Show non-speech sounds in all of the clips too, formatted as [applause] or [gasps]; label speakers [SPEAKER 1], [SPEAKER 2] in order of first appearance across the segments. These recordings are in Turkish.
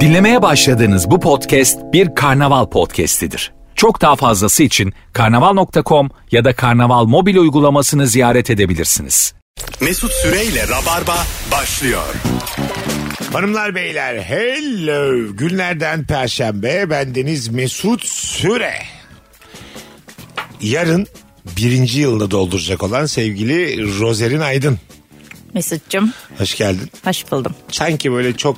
[SPEAKER 1] Dinlemeye başladığınız bu podcast bir karnaval podcastidir. Çok daha fazlası için karnaval.com ya da karnaval mobil uygulamasını ziyaret edebilirsiniz.
[SPEAKER 2] Mesut Süreyle Rabarba başlıyor.
[SPEAKER 3] Hanımlar beyler hello günlerden perşembe bendeniz Mesut Süre. Yarın birinci yılını dolduracak olan sevgili Rozerin Aydın.
[SPEAKER 4] Mesut'cum
[SPEAKER 3] Hoş geldin.
[SPEAKER 4] hoş buldum.
[SPEAKER 3] Sanki böyle çok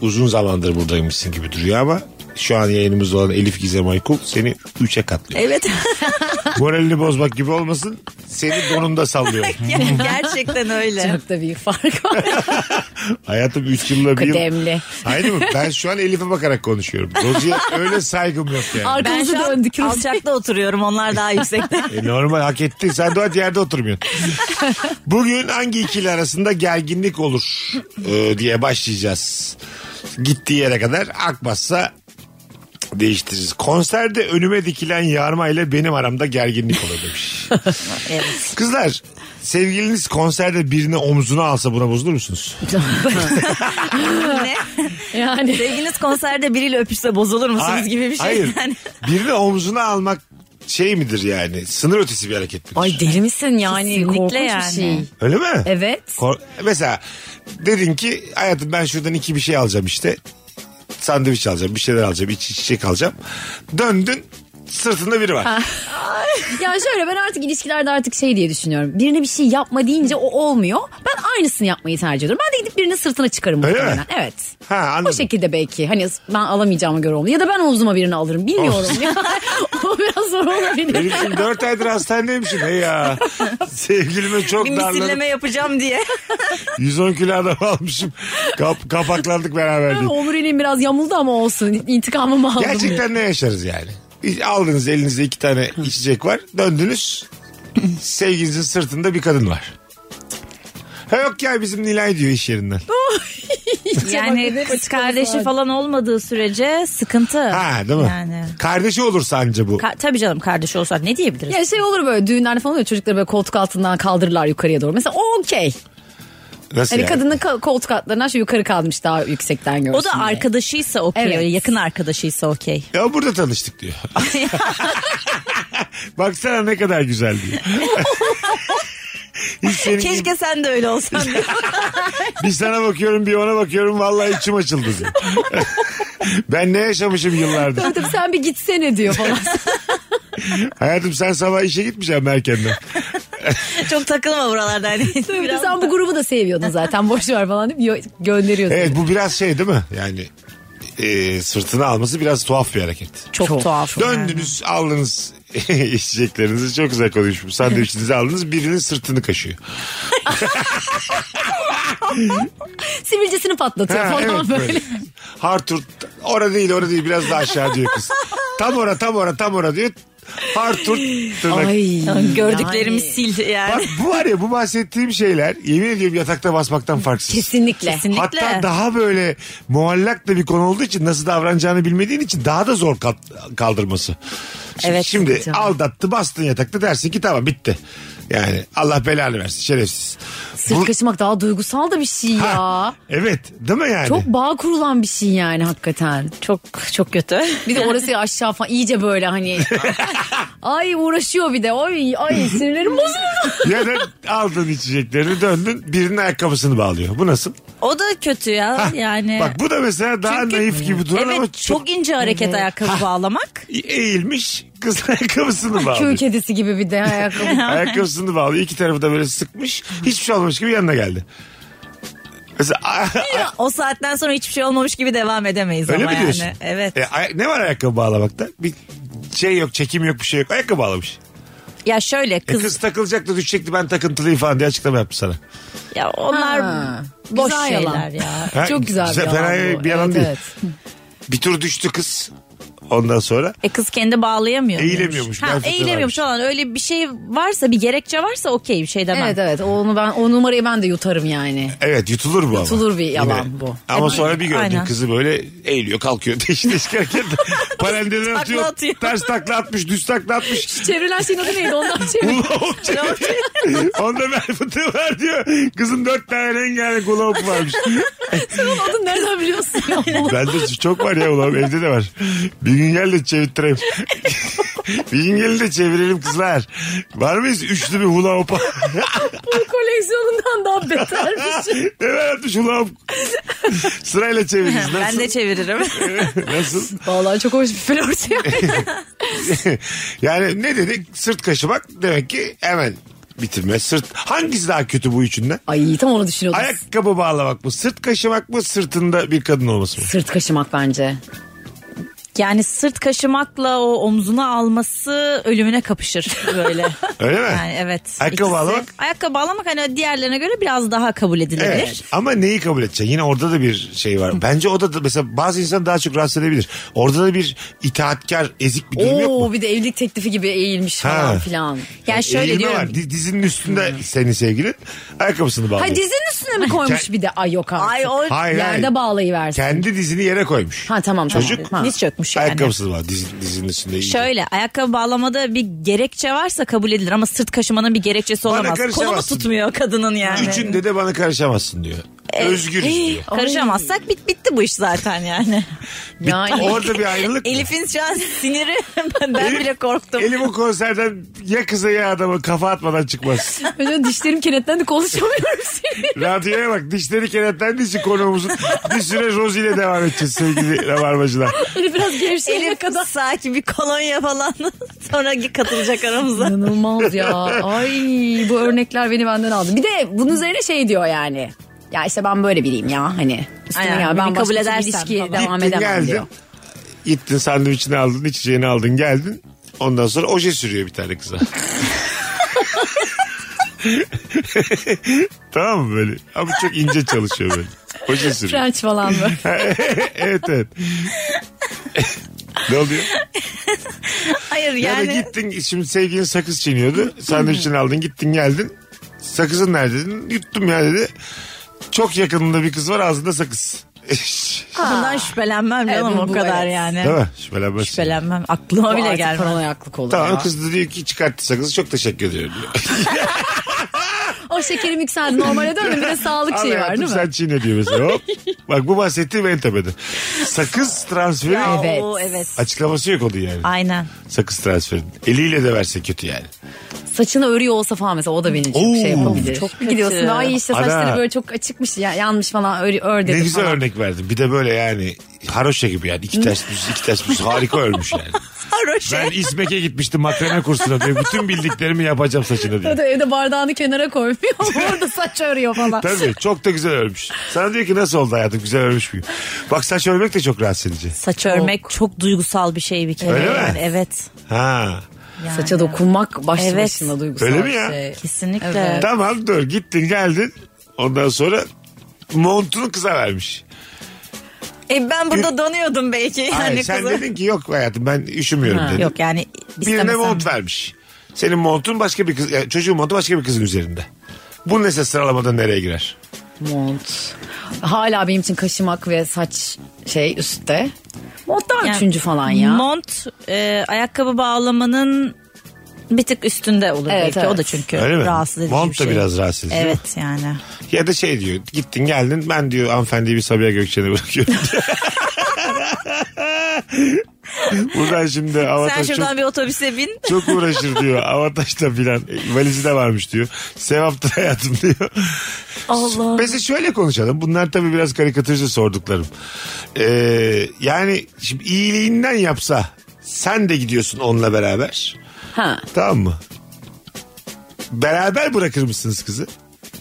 [SPEAKER 3] uzun zamandır buradaymışsın gibi duruyor ama şu an yayınımızda olan Elif Gizem Aykul seni üçe katlıyor.
[SPEAKER 4] Evet
[SPEAKER 3] [laughs]
[SPEAKER 4] [laughs]
[SPEAKER 3] Moralini bozmak gibi olmasın seni donunda sallıyor.
[SPEAKER 4] gerçekten öyle.
[SPEAKER 5] Çok da büyük fark var.
[SPEAKER 3] [laughs] Hayatım 3 yılda bir yıl.
[SPEAKER 5] Kıdemli.
[SPEAKER 3] Hayır mı? Ben şu an Elif'e bakarak konuşuyorum. Rozi'ye öyle saygım yok yani.
[SPEAKER 4] Ben
[SPEAKER 5] Arkamızı
[SPEAKER 4] şu an
[SPEAKER 5] döndük.
[SPEAKER 4] alçakta oturuyorum onlar daha [laughs] yüksekte.
[SPEAKER 3] E normal hak etti. Sen dua et yerde oturmuyorsun. Bugün hangi ikili arasında gerginlik olur e, diye başlayacağız. Gittiği yere kadar akmazsa değiştiririz. Konserde önüme dikilen yarma ile benim aramda gerginlik olur demiş.
[SPEAKER 4] [laughs] evet.
[SPEAKER 3] Kızlar sevgiliniz konserde birini omzuna alsa buna bozulur musunuz?
[SPEAKER 4] ne?
[SPEAKER 5] [laughs] Yani
[SPEAKER 4] Sevginiz konserde biriyle öpüşse bozulur musunuz
[SPEAKER 3] Hayır,
[SPEAKER 4] gibi bir şey.
[SPEAKER 3] Hayır.
[SPEAKER 4] Yani.
[SPEAKER 3] Birini omzuna almak şey midir yani? Sınır ötesi bir hareket midir?
[SPEAKER 5] Ay deli misin yani?
[SPEAKER 4] Kesinlikle
[SPEAKER 5] Korkunç
[SPEAKER 4] yani.
[SPEAKER 5] bir şey.
[SPEAKER 3] Öyle mi?
[SPEAKER 5] Evet.
[SPEAKER 3] Kor- mesela dedin ki hayatım ben şuradan iki bir şey alacağım işte. Sandviç alacağım, bir şeyler alacağım, içi çiçek alacağım. Döndün sırtında biri var.
[SPEAKER 5] Ya şöyle ben artık ilişkilerde artık şey diye düşünüyorum. Birine bir şey yapma deyince o olmuyor. Ben aynısını yapmayı tercih ediyorum. Ben de gidip birinin sırtına çıkarım
[SPEAKER 3] Öyle
[SPEAKER 5] muhtemelen.
[SPEAKER 3] mi?
[SPEAKER 5] Evet.
[SPEAKER 3] Ha, anladım.
[SPEAKER 5] O şekilde belki. Hani ben alamayacağıma göre olmuyor. Ya da ben omzuma birini alırım. Bilmiyorum. ya. [laughs] o biraz zor olabilir.
[SPEAKER 3] Herifim dört aydır hastanedeymişim. Hey
[SPEAKER 5] [laughs]
[SPEAKER 3] ya. Sevgilime çok
[SPEAKER 4] Bir
[SPEAKER 3] darladım.
[SPEAKER 4] misilleme yapacağım diye.
[SPEAKER 3] 110 kilo adam almışım. Kap- kapaklandık beraber.
[SPEAKER 5] [laughs]
[SPEAKER 3] diye.
[SPEAKER 5] Omuriliğim biraz yamuldu ama olsun. İntikamımı aldım.
[SPEAKER 3] Gerçekten ne yaşarız yani? Bir Aldınız elinizde iki tane içecek var.
[SPEAKER 5] [laughs]
[SPEAKER 3] Döndünüz. Sevginizin sırtında bir kadın var. Ha yok ya bizim Nilay diyor iş yerinden.
[SPEAKER 4] [laughs] yani kız kardeşi falan olmadığı sürece sıkıntı.
[SPEAKER 3] Ha değil mi?
[SPEAKER 4] Yani.
[SPEAKER 3] Kardeşi olursa anca bu.
[SPEAKER 4] Ka- tabii canım kardeşi olsa ne diyebiliriz?
[SPEAKER 5] Ya şey olur böyle düğünlerde falan oluyor çocukları böyle koltuk altından kaldırırlar yukarıya doğru. Mesela o okey.
[SPEAKER 3] Nasıl
[SPEAKER 5] Hani
[SPEAKER 3] yani?
[SPEAKER 5] kadının ka- koltuk altlarından şu yukarı kalmış daha yüksekten görsün
[SPEAKER 4] o da
[SPEAKER 5] diye.
[SPEAKER 4] arkadaşıysa okey.
[SPEAKER 5] Evet.
[SPEAKER 4] öyle Yakın arkadaşıysa okey.
[SPEAKER 3] Ya burada tanıştık diyor. Baksana ne kadar güzel
[SPEAKER 4] [laughs]
[SPEAKER 3] diyor. Hiç senin gibi-
[SPEAKER 4] [laughs] Keşke sen de öyle olsan. diye.
[SPEAKER 3] bir sana bakıyorum bir ona bakıyorum vallahi içim açıldı
[SPEAKER 4] [laughs]
[SPEAKER 3] diyor. ben ne yaşamışım yıllardır.
[SPEAKER 5] [laughs] Tabii tabii sen bir gitsene
[SPEAKER 3] [laughs]
[SPEAKER 5] diyor falan.
[SPEAKER 3] Hayatım sen sabah işe gitmeyeceksin mi erkenden.
[SPEAKER 4] Çok takılma buralarda. Hani.
[SPEAKER 5] Bir de
[SPEAKER 4] Biraz
[SPEAKER 5] sen bu grubu da seviyordun zaten boş ver falan deyip yo- gönderiyorsun.
[SPEAKER 3] Evet bu biraz şey değil mi? Yani e, sırtına alması biraz tuhaf bir hareket.
[SPEAKER 4] Çok, tuhaf.
[SPEAKER 3] Döndünüz aldınız [laughs] içeceklerinizi çok güzel konuşmuş. Sandviçinizi aldınız birinin sırtını kaşıyor.
[SPEAKER 5] Sivilcesini patlatıyor
[SPEAKER 3] Ha,
[SPEAKER 5] falan
[SPEAKER 3] evet,
[SPEAKER 5] böyle.
[SPEAKER 3] [laughs] böyle. Hartur orada değil orada değil biraz daha aşağı diyor kız. Tam ora tam ora tam ora diyor. Hartur tırnak.
[SPEAKER 5] Ay.
[SPEAKER 4] Gördüklerimiz sil
[SPEAKER 5] Yani
[SPEAKER 3] Bak
[SPEAKER 4] yani.
[SPEAKER 3] bu var ya bu bahsettiğim şeyler yemin ediyorum yatakta basmaktan farksız.
[SPEAKER 5] Kesinlikle.
[SPEAKER 4] Kesinlikle.
[SPEAKER 3] Hatta daha böyle muallak da bir konu olduğu için nasıl davranacağını bilmediğin için daha da zor kat- kaldırması. Şimdi,
[SPEAKER 4] Evet,
[SPEAKER 3] şimdi
[SPEAKER 4] canım.
[SPEAKER 3] aldattı bastın yatakta dersin ki tamam bitti. Yani Allah belanı versin şerefsiz. Bu-
[SPEAKER 5] Sırt kaşımak daha duygusal da bir şey ya.
[SPEAKER 3] Ha, evet değil mi yani?
[SPEAKER 5] Çok bağ kurulan bir şey yani hakikaten.
[SPEAKER 4] Çok çok kötü.
[SPEAKER 5] Bir de orası aşağı falan iyice
[SPEAKER 3] [laughs]
[SPEAKER 5] böyle hani. ay uğraşıyor bir de. Ay, ay sinirlerim bozuldu.
[SPEAKER 3] ya da aldın içeceklerini döndün birinin ayakkabısını bağlıyor. Bu nasıl?
[SPEAKER 4] O da kötü ya
[SPEAKER 3] Hah,
[SPEAKER 4] yani.
[SPEAKER 3] Bak bu da mesela daha
[SPEAKER 4] Çünkü-
[SPEAKER 3] naif gibi duran
[SPEAKER 4] evet
[SPEAKER 3] ama
[SPEAKER 4] çok,
[SPEAKER 3] çok,
[SPEAKER 4] ince hareket ayakkabı bağlamak.
[SPEAKER 3] eğilmiş kız [laughs] ayakkabısını
[SPEAKER 5] Köy
[SPEAKER 3] bağlıyor.
[SPEAKER 5] [laughs] kedisi gibi bir
[SPEAKER 3] [laughs]
[SPEAKER 5] de ayakkabı.
[SPEAKER 3] ayakkabısını bağlıyor. İki tarafı da böyle sıkmış. Hiçbir şey olmamış gibi yanına geldi. Mesela [laughs]
[SPEAKER 4] O saatten sonra hiçbir şey olmamış gibi devam edemeyiz
[SPEAKER 3] öyle
[SPEAKER 4] ama
[SPEAKER 3] mi diyorsun?
[SPEAKER 4] yani. Evet.
[SPEAKER 3] E, ay- ne var ayakkabı bağlamakta? Bir şey yok, çekim yok, bir şey yok. Ayakkabı bağlamış.
[SPEAKER 4] Ya şöyle
[SPEAKER 3] E,
[SPEAKER 4] kız,
[SPEAKER 3] kız, takılacaktı, düşecekti. Ben takıntılıyım falan diye açıklama yaptı sana.
[SPEAKER 4] ya onlar
[SPEAKER 5] Ha,
[SPEAKER 4] boş
[SPEAKER 5] güzel
[SPEAKER 4] şeyler
[SPEAKER 5] yalan.
[SPEAKER 4] ya.
[SPEAKER 3] Ha,
[SPEAKER 5] Çok güzel,
[SPEAKER 3] güzel,
[SPEAKER 5] bir
[SPEAKER 3] fena
[SPEAKER 5] yalan. bu.
[SPEAKER 3] bir yalan
[SPEAKER 5] evet,
[SPEAKER 3] değil.
[SPEAKER 5] evet.
[SPEAKER 3] Bir tur düştü kız. Ondan sonra
[SPEAKER 4] E kız kendi bağlayamıyor.
[SPEAKER 3] Eğilemiyormuş,
[SPEAKER 4] Ha,
[SPEAKER 3] bel fıtığı
[SPEAKER 4] eğilemiyormuş
[SPEAKER 3] varmış.
[SPEAKER 4] falan. Öyle bir şey varsa bir gerekçe varsa okey bir şey demem.
[SPEAKER 5] Evet evet onu ben o numarayı ben de yutarım yani.
[SPEAKER 3] Evet yutulur bu ama.
[SPEAKER 5] Yutulur bir yalan
[SPEAKER 3] Yine.
[SPEAKER 5] bu.
[SPEAKER 3] Ama
[SPEAKER 4] Evet,
[SPEAKER 3] sonra bir gördüm
[SPEAKER 4] aynen.
[SPEAKER 3] kızı böyle eğiliyor kalkıyor [laughs] değişik değişik hareket.
[SPEAKER 4] [laughs]
[SPEAKER 3] Paralelden atıyor,
[SPEAKER 4] atıyor.
[SPEAKER 3] Ters takla atmış düz takla
[SPEAKER 4] [laughs]
[SPEAKER 3] atmış.
[SPEAKER 5] Çevrilen şeyin adı neydi [laughs] ondan çevir.
[SPEAKER 3] Ula [laughs] hop
[SPEAKER 4] [laughs]
[SPEAKER 3] çevir. Onda bel fıtığı var diyor. Kızın dört tane rengarenk ula hop varmış.
[SPEAKER 5] Bunun adını nereden biliyorsun ya? [laughs]
[SPEAKER 3] Bende çok var ya ulan evde de var. Bir gün gel de
[SPEAKER 4] [laughs]
[SPEAKER 3] çevirttireyim. bir gün gel de çevirelim kızlar. Var mıyız üçlü bir hula
[SPEAKER 4] [laughs]
[SPEAKER 3] hopa?
[SPEAKER 5] Koleksiyonundan daha şey. betermiş.
[SPEAKER 3] ne var atmış hula
[SPEAKER 4] [laughs]
[SPEAKER 3] hop? Sırayla çeviririz.
[SPEAKER 4] Ben
[SPEAKER 3] Nasıl?
[SPEAKER 4] de çeviririm.
[SPEAKER 3] [laughs] Nasıl?
[SPEAKER 5] Vallahi çok hoş bir flört ya. [laughs]
[SPEAKER 3] [laughs] yani ne dedik? Sırt kaşımak demek ki hemen bitirme. Sırt hangisi daha kötü bu üçünden?
[SPEAKER 5] Ay tam onu düşünüyordum.
[SPEAKER 3] Ayakkabı bağlamak mı? Sırt kaşımak mı? Sırtında bir kadın olması mı?
[SPEAKER 5] Sırt kaşımak bence.
[SPEAKER 4] Yani sırt kaşımakla o omzuna alması ölümüne kapışır böyle. [laughs]
[SPEAKER 3] Öyle mi?
[SPEAKER 4] Yani evet.
[SPEAKER 3] [laughs] Ayakkabı
[SPEAKER 4] İkisi-
[SPEAKER 3] bağlamak?
[SPEAKER 4] Ayakkabı bağlamak hani diğerlerine göre biraz daha kabul edilebilir.
[SPEAKER 3] Evet. Ama neyi kabul edeceksin? Yine orada da bir şey var. Bence o da, da mesela bazı insan daha çok rahatsız edebilir. Orada da bir itaatkar, ezik bir durum yok mu?
[SPEAKER 5] Oo bir de evlilik teklifi gibi eğilmiş falan
[SPEAKER 3] Ha.
[SPEAKER 5] filan.
[SPEAKER 4] Yani şöyle
[SPEAKER 3] Eğilme
[SPEAKER 4] diyorum.
[SPEAKER 3] var. Di- Dizinin üstünde senin sevgilin ayakkabısını bağlıyor.
[SPEAKER 5] Ha dizinin üstüne mi koymuş
[SPEAKER 3] Ke-
[SPEAKER 5] bir de? Ay yok artık.
[SPEAKER 4] Ay o
[SPEAKER 3] Hayır, hayır.
[SPEAKER 5] Yerde bağlayıversin.
[SPEAKER 3] Kendi dizini yere koymuş.
[SPEAKER 5] Ha tamam tamam.
[SPEAKER 3] Çocuk
[SPEAKER 5] Ha.
[SPEAKER 4] diz çökmüş yani.
[SPEAKER 3] Ayakkabısını bağlı. Diz, dizinin üstünde. iyi.
[SPEAKER 4] Şöyle ayakkabı bağlamada bir gerekçe varsa kabul edilir ama sırt kaşımanın bir gerekçesi
[SPEAKER 3] Bana
[SPEAKER 4] olamaz. Kolumu
[SPEAKER 3] karışamazsın.
[SPEAKER 4] tutmuyor kadının yani.
[SPEAKER 3] Üçünde de bana karışamazsın diyor. Özgürüz diyor.
[SPEAKER 4] Karışamazsak bit, bitti bu iş
[SPEAKER 3] [laughs]
[SPEAKER 4] zaten yani.
[SPEAKER 5] Yani [laughs]
[SPEAKER 3] Orada bir ayrılık.
[SPEAKER 4] Elif'in şu an siniri [laughs] ben
[SPEAKER 3] Elif-
[SPEAKER 4] bile korktum.
[SPEAKER 3] Elif o konserden ya kıza ya adama kafa atmadan
[SPEAKER 5] [laughs]
[SPEAKER 3] çıkmaz.
[SPEAKER 5] Hocam dişlerim
[SPEAKER 3] [laughs]
[SPEAKER 5] kenetlendi konuşamıyorum seni.
[SPEAKER 3] Radyoya bak dişleri kenetlendiği için konuğumuzun bir süre Rozi ile devam edeceğiz sevgili rabarbacılar.
[SPEAKER 5] Eli biraz gevşeyene
[SPEAKER 4] Elif
[SPEAKER 5] kadar.
[SPEAKER 4] sakin bir kolonya falan [laughs] sonra katılacak aramıza.
[SPEAKER 5] İnanılmaz ya. Ay bu örnekler beni benden aldı. Bir de bunun üzerine şey diyor yani. Ya işte ben böyle biriyim ya hani. Üstüne
[SPEAKER 4] Aynen,
[SPEAKER 5] ya
[SPEAKER 4] beni
[SPEAKER 5] ben
[SPEAKER 4] kabul
[SPEAKER 5] kabul
[SPEAKER 4] edersen
[SPEAKER 5] ilişkiye
[SPEAKER 4] falan.
[SPEAKER 5] devam
[SPEAKER 3] Gittin,
[SPEAKER 5] edemem
[SPEAKER 3] geldin.
[SPEAKER 5] diyor.
[SPEAKER 3] Gittin sandviçini aldın içeceğini aldın geldin. Ondan sonra oje sürüyor bir tane
[SPEAKER 5] [laughs]
[SPEAKER 3] kıza. [laughs] tamam mı böyle? Ama çok ince çalışıyor böyle. Oje sürüyor.
[SPEAKER 5] French falan mı?
[SPEAKER 3] evet evet. ne
[SPEAKER 5] [laughs]
[SPEAKER 3] oluyor?
[SPEAKER 4] Hayır
[SPEAKER 3] Ya
[SPEAKER 4] yani.
[SPEAKER 3] da gittin şimdi sevgilin sakız çiğniyordu. Sandviçini aldın gittin geldin. Sakızın nerede dedin. Yuttum ya dedi. Çok yakınında bir kız var ağzında sakız. [laughs]
[SPEAKER 4] Bundan şüphelenmem
[SPEAKER 5] Evet,
[SPEAKER 4] canım
[SPEAKER 5] bu-
[SPEAKER 4] o
[SPEAKER 5] bu,
[SPEAKER 4] kadar
[SPEAKER 5] evet.
[SPEAKER 4] yani.
[SPEAKER 3] Değil mi? Şüphelenmez.
[SPEAKER 4] Şüphelenmem. Aklıma bile
[SPEAKER 5] Artık
[SPEAKER 4] gelmez.
[SPEAKER 5] paranoyaklık olur
[SPEAKER 3] Tamam
[SPEAKER 5] ya.
[SPEAKER 3] kız da diyor ki çıkarttı sakızı çok teşekkür
[SPEAKER 5] [laughs]
[SPEAKER 3] ediyorum diyor.
[SPEAKER 5] O şekerim yükseldi normale döndü bir de sağlık
[SPEAKER 3] Al
[SPEAKER 5] şeyi var
[SPEAKER 3] hayatım,
[SPEAKER 5] değil mi?
[SPEAKER 3] Sen çiğne diyor mesela.
[SPEAKER 5] [laughs]
[SPEAKER 3] Hop. Bak bu bahsettiğim en tepede. Sakız transferi
[SPEAKER 4] Aa,
[SPEAKER 5] Evet.
[SPEAKER 4] o, evet.
[SPEAKER 3] açıklaması yok onun yani.
[SPEAKER 4] Aynen.
[SPEAKER 3] Sakız transferi. Eliyle de verse kötü yani.
[SPEAKER 5] Saçını örüyor olsa falan mesela o da beni çok
[SPEAKER 3] Oo.
[SPEAKER 5] şey yapabilir.
[SPEAKER 4] Çok
[SPEAKER 5] Bir
[SPEAKER 4] kötü.
[SPEAKER 5] Gidiyorsun ay işte
[SPEAKER 3] Ana.
[SPEAKER 5] saçları böyle çok açıkmış ya, yanmış falan ör, ör dedi
[SPEAKER 3] ne güzel
[SPEAKER 5] falan.
[SPEAKER 3] örnek verdin. Bir de böyle yani haroşa gibi yani. iki ters düz iki ters düz harika ölmüş
[SPEAKER 4] [laughs]
[SPEAKER 3] yani.
[SPEAKER 4] Haroşa.
[SPEAKER 3] Ben İzmek'e gitmiştim makrame kursuna diye. Bütün bildiklerimi yapacağım saçına diye.
[SPEAKER 5] Ya da [laughs] evde bardağını kenara koymuyor [laughs] orada saç örüyor falan.
[SPEAKER 3] Tabii çok da güzel örmüş. Sana diyor ki nasıl oldu hayatım güzel örmüş müyüm? Bak saç örmek de çok rahatsız edici.
[SPEAKER 4] Saç örmek çok duygusal bir şey bir kere.
[SPEAKER 3] Öyle mi?
[SPEAKER 4] Yani Evet.
[SPEAKER 3] Ha.
[SPEAKER 4] Yani.
[SPEAKER 5] Saça dokunmak başlı
[SPEAKER 4] Evet.
[SPEAKER 5] başına duygusal
[SPEAKER 3] Öyle mi
[SPEAKER 5] bir
[SPEAKER 3] ya?
[SPEAKER 5] şey.
[SPEAKER 4] Kesinlikle.
[SPEAKER 5] Evet.
[SPEAKER 3] Tamam dur gittin geldin. Ondan sonra montunu kıza vermiş.
[SPEAKER 4] E ben burada donuyordum belki. [laughs] Yani
[SPEAKER 3] Hayır, sen
[SPEAKER 4] kızım.
[SPEAKER 3] dedin ki yok hayatım ben üşümüyorum dedin.
[SPEAKER 4] Yok yani
[SPEAKER 3] Birine
[SPEAKER 4] istemesem.
[SPEAKER 3] mont vermiş. Senin montun başka bir kız, yani çocuğun montu başka bir kızın üzerinde. Bu mesela sıralamada nereye girer?
[SPEAKER 5] Mont. Hala benim için kaşımak ve saç şey üstte. Mont daha
[SPEAKER 4] Yani
[SPEAKER 5] üçüncü falan ya.
[SPEAKER 4] Mont e, ayakkabı bağlamanın bir tık üstünde olur
[SPEAKER 5] Evet,
[SPEAKER 4] belki.
[SPEAKER 5] evet.
[SPEAKER 4] O da çünkü
[SPEAKER 3] Öyle mi?
[SPEAKER 4] rahatsız edici
[SPEAKER 3] Mont
[SPEAKER 4] bir
[SPEAKER 3] da
[SPEAKER 4] şey.
[SPEAKER 3] biraz rahatsız edici, değil
[SPEAKER 4] Evet yani.
[SPEAKER 3] Ya da şey diyor gittin geldin ben diyor hanımefendiyi bir Sabiha Gökçen'e bırakıyorum. [laughs] Buradan şimdi
[SPEAKER 4] Sen
[SPEAKER 3] Avatar çok,
[SPEAKER 4] şuradan bir otobüse bin.
[SPEAKER 3] çok uğraşır diyor. Avatar da filan e, valizi de varmış diyor. Sevaptır hayatım diyor.
[SPEAKER 4] Allah.
[SPEAKER 3] Mesela şöyle konuşalım. Bunlar tabii biraz karikatürce sorduklarım. Ee, yani şimdi iyiliğinden yapsa sen de gidiyorsun onunla beraber.
[SPEAKER 5] Ha.
[SPEAKER 3] Tamam mı? Beraber bırakır mısınız kızı?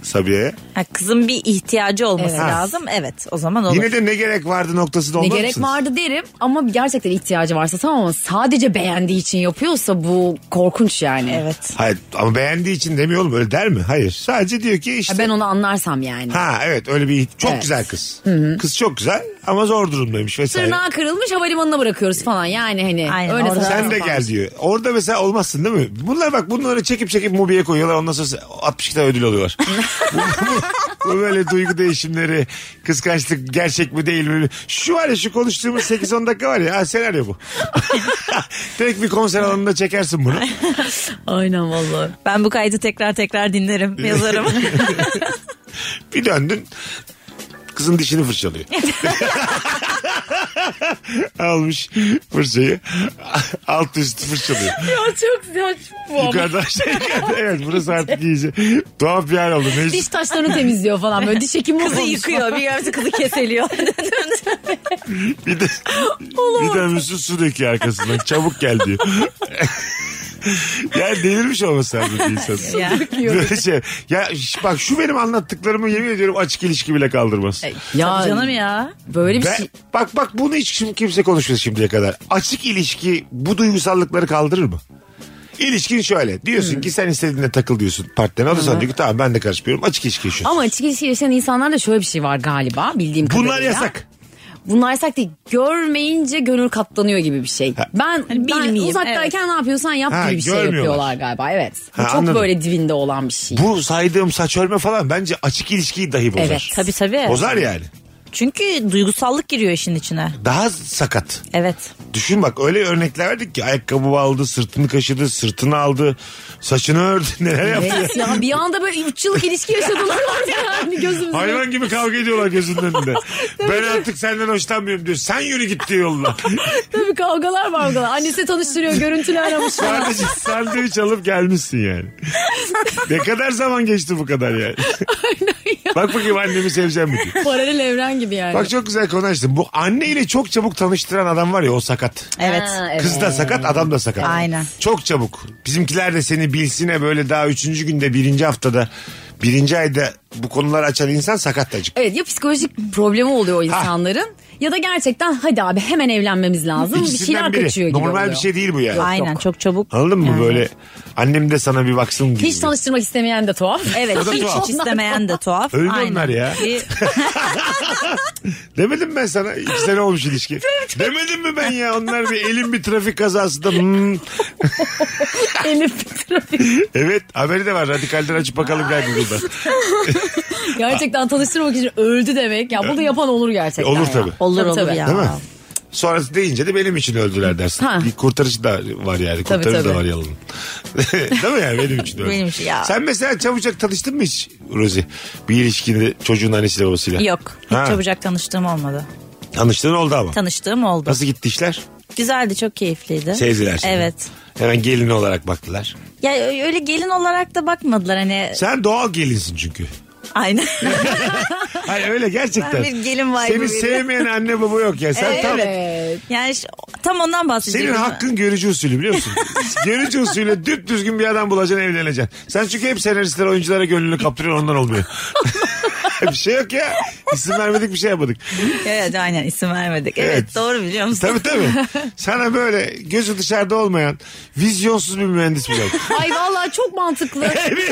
[SPEAKER 3] Sabiha'ya.
[SPEAKER 4] Ha, kızın bir ihtiyacı olması
[SPEAKER 5] Evet.
[SPEAKER 4] lazım. Evet o zaman olur.
[SPEAKER 3] Yine de ne gerek vardı noktasında
[SPEAKER 5] Ne
[SPEAKER 3] olmaz
[SPEAKER 5] gerek
[SPEAKER 3] mısınız?
[SPEAKER 5] vardı derim ama gerçekten ihtiyacı varsa tamam ama sadece beğendiği için yapıyorsa bu korkunç yani.
[SPEAKER 4] Evet.
[SPEAKER 3] Hayır ama beğendiği için demiyor oğlum öyle der mi? Hayır. Sadece diyor ki
[SPEAKER 5] Ya
[SPEAKER 3] işte.
[SPEAKER 5] ben onu anlarsam yani.
[SPEAKER 3] Ha evet öyle bir çok
[SPEAKER 5] Evet.
[SPEAKER 3] güzel kız. Kız çok güzel ama zor durumdaymış vesaire.
[SPEAKER 5] Tırnağı kırılmış havalimanına bırakıyoruz falan yani hani.
[SPEAKER 4] Aynen,
[SPEAKER 5] öyle
[SPEAKER 4] orada-
[SPEAKER 5] saçma
[SPEAKER 3] Sen de
[SPEAKER 5] sapan.
[SPEAKER 3] gel diyor. Orada mesela olmazsın değil mi? Bunlar bak bunları çekip çekip Mubi'ye koyuyorlar. Ondan sonra 62 tane ödül alıyorlar. bu, bu- bu böyle duygu değişimleri, kıskançlık gerçek mi değil mi? Şu var ya şu konuştuğumuz 8-10 dakika var ya ha, senaryo bu. [laughs] Tek bir konser alanında çekersin bunu.
[SPEAKER 5] Aynen vallahi.
[SPEAKER 4] Ben
[SPEAKER 3] [laughs]
[SPEAKER 4] bu kaydı tekrar tekrar dinlerim yazarım.
[SPEAKER 3] Bir döndün Kızın dişini fırçalıyor. [laughs] Almış fırçayı. Alt üst fırçalıyor.
[SPEAKER 4] Ya çok saçma.
[SPEAKER 3] Yukarıdan aşağı yukarıdan. Evet burası artık iyice. Tuhaf bir hal oldu. Mesut
[SPEAKER 5] Diş taşlarını temizliyor falan böyle. Diş hekimi
[SPEAKER 4] Kızı
[SPEAKER 5] olmuş.
[SPEAKER 4] yıkıyor bir yerde kızı keseliyor.
[SPEAKER 3] bir de, bir de Mesut su döküyor arkasından. Çabuk gel diyor. yani delirmiş olması lazım bir insan.
[SPEAKER 4] Ya.
[SPEAKER 3] Böyle şey. Ya ş- bak şu benim anlattıklarımı yemin ediyorum açık ilişki bile kaldırmaz.
[SPEAKER 5] [laughs] Ya
[SPEAKER 4] Canım ya.
[SPEAKER 5] böyle bir
[SPEAKER 3] Ben-
[SPEAKER 5] şey.
[SPEAKER 3] bak bak bunu hiç kim- kimse konuşmadı şimdiye kadar. Açık ilişki bu duygusallıkları kaldırır mı? İlişkin şöyle. Diyorsun
[SPEAKER 5] Hmm.
[SPEAKER 3] ki sen istediğinde takıl diyorsun partnerine. O da sana diyor ki tamam ben de karışmıyorum. Açık ilişki yaşıyorsun.
[SPEAKER 5] Ama açık ilişki yaşayan insanlarda şöyle bir şey var galiba bildiğim kadarıyla.
[SPEAKER 3] Bunlar yasak.
[SPEAKER 5] Bunlar yasak değil. Görmeyince gönül katlanıyor gibi bir şey. Ben,
[SPEAKER 4] Hani
[SPEAKER 5] ben
[SPEAKER 4] bilmeyeyim,
[SPEAKER 5] uzaktayken ne yapıyorsan yap
[SPEAKER 3] Ha,
[SPEAKER 5] gibi bir şey
[SPEAKER 3] görmüyorlar.
[SPEAKER 5] yapıyorlar galiba. Evet. Bu
[SPEAKER 3] Ha,
[SPEAKER 5] çok
[SPEAKER 3] anladım.
[SPEAKER 5] böyle dibinde olan bir şey.
[SPEAKER 3] Bu saydığım saç örme falan bence açık ilişkiyi dahi bozar.
[SPEAKER 5] Evet.
[SPEAKER 4] Tabii tabii.
[SPEAKER 3] Bozar yani.
[SPEAKER 4] Çünkü duygusallık giriyor işin içine.
[SPEAKER 3] Daha sakat.
[SPEAKER 4] Evet.
[SPEAKER 3] Düşün bak öyle örnekler verdik ki ayakkabı aldı, sırtını kaşıdı, sırtını aldı, saçını ördü, [laughs] neler yaptı.
[SPEAKER 5] Evet ya bir anda böyle üç yıllık ilişki yaşadılar orada yani gözümüzde.
[SPEAKER 3] Hayvan gibi kavga ediyorlar gözünün [laughs] önünde. ben artık senden hoşlanmıyorum diyor. Sen yürü git diyor [laughs] yoluna.
[SPEAKER 5] Tabii kavgalar var kavgalar. Annesi tanıştırıyor görüntülü aramış.
[SPEAKER 3] Sadece sandviç alıp gelmişsin yani. ne kadar zaman geçti bu kadar yani. Bak bakayım annemi seveceğim mi diye.
[SPEAKER 5] Paralel evren gibi yani.
[SPEAKER 3] Bak çok güzel konu açtın. Bu anneyle çok çabuk tanıştıran adam var ya o sakat.
[SPEAKER 4] Evet.
[SPEAKER 5] Ha, evet.
[SPEAKER 3] Kız da sakat adam da sakat.
[SPEAKER 4] Aynen.
[SPEAKER 3] Çok çabuk. Bizimkiler de seni bilsine böyle daha üçüncü günde birinci haftada birinci ayda bu konuları açan insan sakat acık.
[SPEAKER 5] Evet ya psikolojik problemi oluyor o insanların ya da gerçekten hadi abi hemen evlenmemiz lazım bir
[SPEAKER 3] İkisinden
[SPEAKER 5] şeyler
[SPEAKER 3] biri.
[SPEAKER 5] kaçıyor gibi
[SPEAKER 3] Normal
[SPEAKER 5] oluyor.
[SPEAKER 3] bir şey değil bu yani.
[SPEAKER 4] Aynen
[SPEAKER 5] yok.
[SPEAKER 4] çok çabuk.
[SPEAKER 3] Anladın mı
[SPEAKER 4] Yani.
[SPEAKER 3] böyle annem de sana bir baksın gibi.
[SPEAKER 5] Hiç tanıştırmak istemeyen de tuhaf.
[SPEAKER 4] Evet
[SPEAKER 3] O da
[SPEAKER 4] hiç,
[SPEAKER 3] tuhaf.
[SPEAKER 4] hiç istemeyen de tuhaf.
[SPEAKER 3] Öyle onlar ya.
[SPEAKER 4] Bir-
[SPEAKER 3] Demedim ben sana iki sene olmuş
[SPEAKER 5] [laughs]
[SPEAKER 3] ilişki. Demedim mi ben ya onlar bir elin bir trafik kazasında. Hmm.
[SPEAKER 5] Elif trafik.
[SPEAKER 3] Evet haberi de var radikalden açıp bakalım gel Google'dan.
[SPEAKER 5] Gerçekten tanıştırmak için öldü demek. Ya bunu yapan olur gerçekten.
[SPEAKER 3] Olur
[SPEAKER 5] ya.
[SPEAKER 3] tabii.
[SPEAKER 4] Olur olur ya.
[SPEAKER 3] Değil mi? Sonrası deyince de benim için öldüler dersin.
[SPEAKER 5] Ha.
[SPEAKER 3] Bir kurtarışı da var yani.
[SPEAKER 5] Tabii,
[SPEAKER 3] Kurtarıcı da
[SPEAKER 5] tabii.
[SPEAKER 3] var yalanın. [laughs] Değil mi yani benim için öldü.
[SPEAKER 4] Benim için ya.
[SPEAKER 3] Sen mesela çabucak tanıştın mı hiç Rozi? Bir ilişkinde çocuğun annesiyle babasıyla.
[SPEAKER 4] Yok. Hiç
[SPEAKER 3] Ha.
[SPEAKER 4] çabucak tanıştığım olmadı.
[SPEAKER 3] Tanıştığın oldu ama.
[SPEAKER 4] Tanıştığım oldu.
[SPEAKER 3] Nasıl gitti işler?
[SPEAKER 4] Güzeldi çok keyifliydi.
[SPEAKER 3] Sevdiler seni.
[SPEAKER 4] Evet.
[SPEAKER 3] Hemen gelin olarak baktılar.
[SPEAKER 4] Ya öyle gelin olarak da bakmadılar hani.
[SPEAKER 3] Sen doğal gelinsin
[SPEAKER 4] [laughs]
[SPEAKER 3] çünkü.
[SPEAKER 4] Aynen.
[SPEAKER 3] Hayır öyle gerçekten.
[SPEAKER 4] Ben bir gelin vibe'ı
[SPEAKER 3] Seni
[SPEAKER 4] veriyorum.
[SPEAKER 3] sevmeyen anne baba yok ya. Sen tam,
[SPEAKER 5] Evet.
[SPEAKER 4] [laughs] yani ş- tam ondan bahsedeceğim.
[SPEAKER 3] Senin hakkın görücü usulü biliyor
[SPEAKER 4] [laughs]
[SPEAKER 3] musun? görücü usulü düp düzgün bir adam bulacaksın evleneceksin. Sen çünkü hep senaristler oyunculara gönlünü kaptırıyorsun ondan olmuyor. [laughs] bir şey yok ya. İsim vermedik bir şey yapmadık.
[SPEAKER 4] Evet aynen isim vermedik. Evet,
[SPEAKER 3] Evet.
[SPEAKER 4] doğru biliyor musun?
[SPEAKER 3] Tabii tabii. Sana böyle gözü dışarıda olmayan vizyonsuz bir mühendis
[SPEAKER 4] [laughs]
[SPEAKER 3] bulalım.
[SPEAKER 5] Ay vallahi çok
[SPEAKER 3] [laughs]
[SPEAKER 5] mantıklı.
[SPEAKER 3] Evet.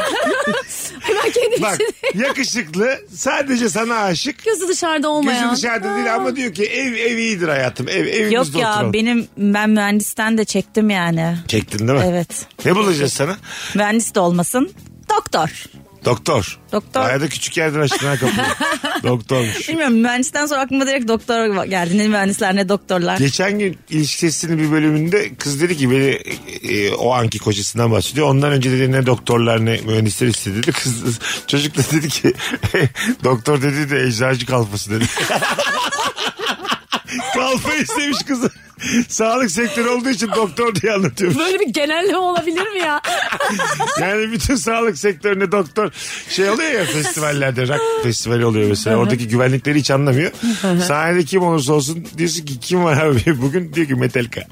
[SPEAKER 5] Hemen kendim
[SPEAKER 3] Bak
[SPEAKER 5] için
[SPEAKER 3] yakışıklı sadece sana aşık.
[SPEAKER 5] gözü dışarıda olmayan.
[SPEAKER 3] Gözü dışarıda değil ama diyor ki ev ev iyidir hayatım. Ev evimizde
[SPEAKER 4] Yok ya
[SPEAKER 3] oturalım.
[SPEAKER 4] benim ben mühendisten de çektim yani.
[SPEAKER 3] Çektin değil mi? [laughs]
[SPEAKER 4] Evet.
[SPEAKER 3] Ne bulacağız sana?
[SPEAKER 4] Mühendis de olmasın. Doktor.
[SPEAKER 3] Doktor.
[SPEAKER 4] Doktor.
[SPEAKER 3] Bayağı da küçük yerden açtın ha kapıyı.
[SPEAKER 4] [laughs]
[SPEAKER 3] Doktormuş.
[SPEAKER 4] Bilmiyorum mühendisten sonra aklıma direkt doktor geldi. Ne mühendisler ne doktorlar.
[SPEAKER 3] Geçen gün ilişki testinin bir bölümünde kız dedi ki beni e, e, o anki kocasından bahsediyor. Ondan önce dedi ne doktorlar ne mühendisler istedi dedi. Kız, [laughs] çocuk da dedi ki [laughs] doktor dedi de eczacı kalfası dedi. [laughs] Kalfa istemiş kızı. Sağlık sektörü olduğu için doktor diye anlatıyormuş.
[SPEAKER 5] Böyle bir genelleme olabilir mi ya?
[SPEAKER 3] Yani bütün sağlık sektöründe doktor şey oluyor ya festivallerde rock festivali oluyor mesela. Oradaki güvenlikleri hiç anlamıyor. Sahnede kim olursa olsun diyorsun ki kim var abi [laughs] bugün diyor ki Metallica.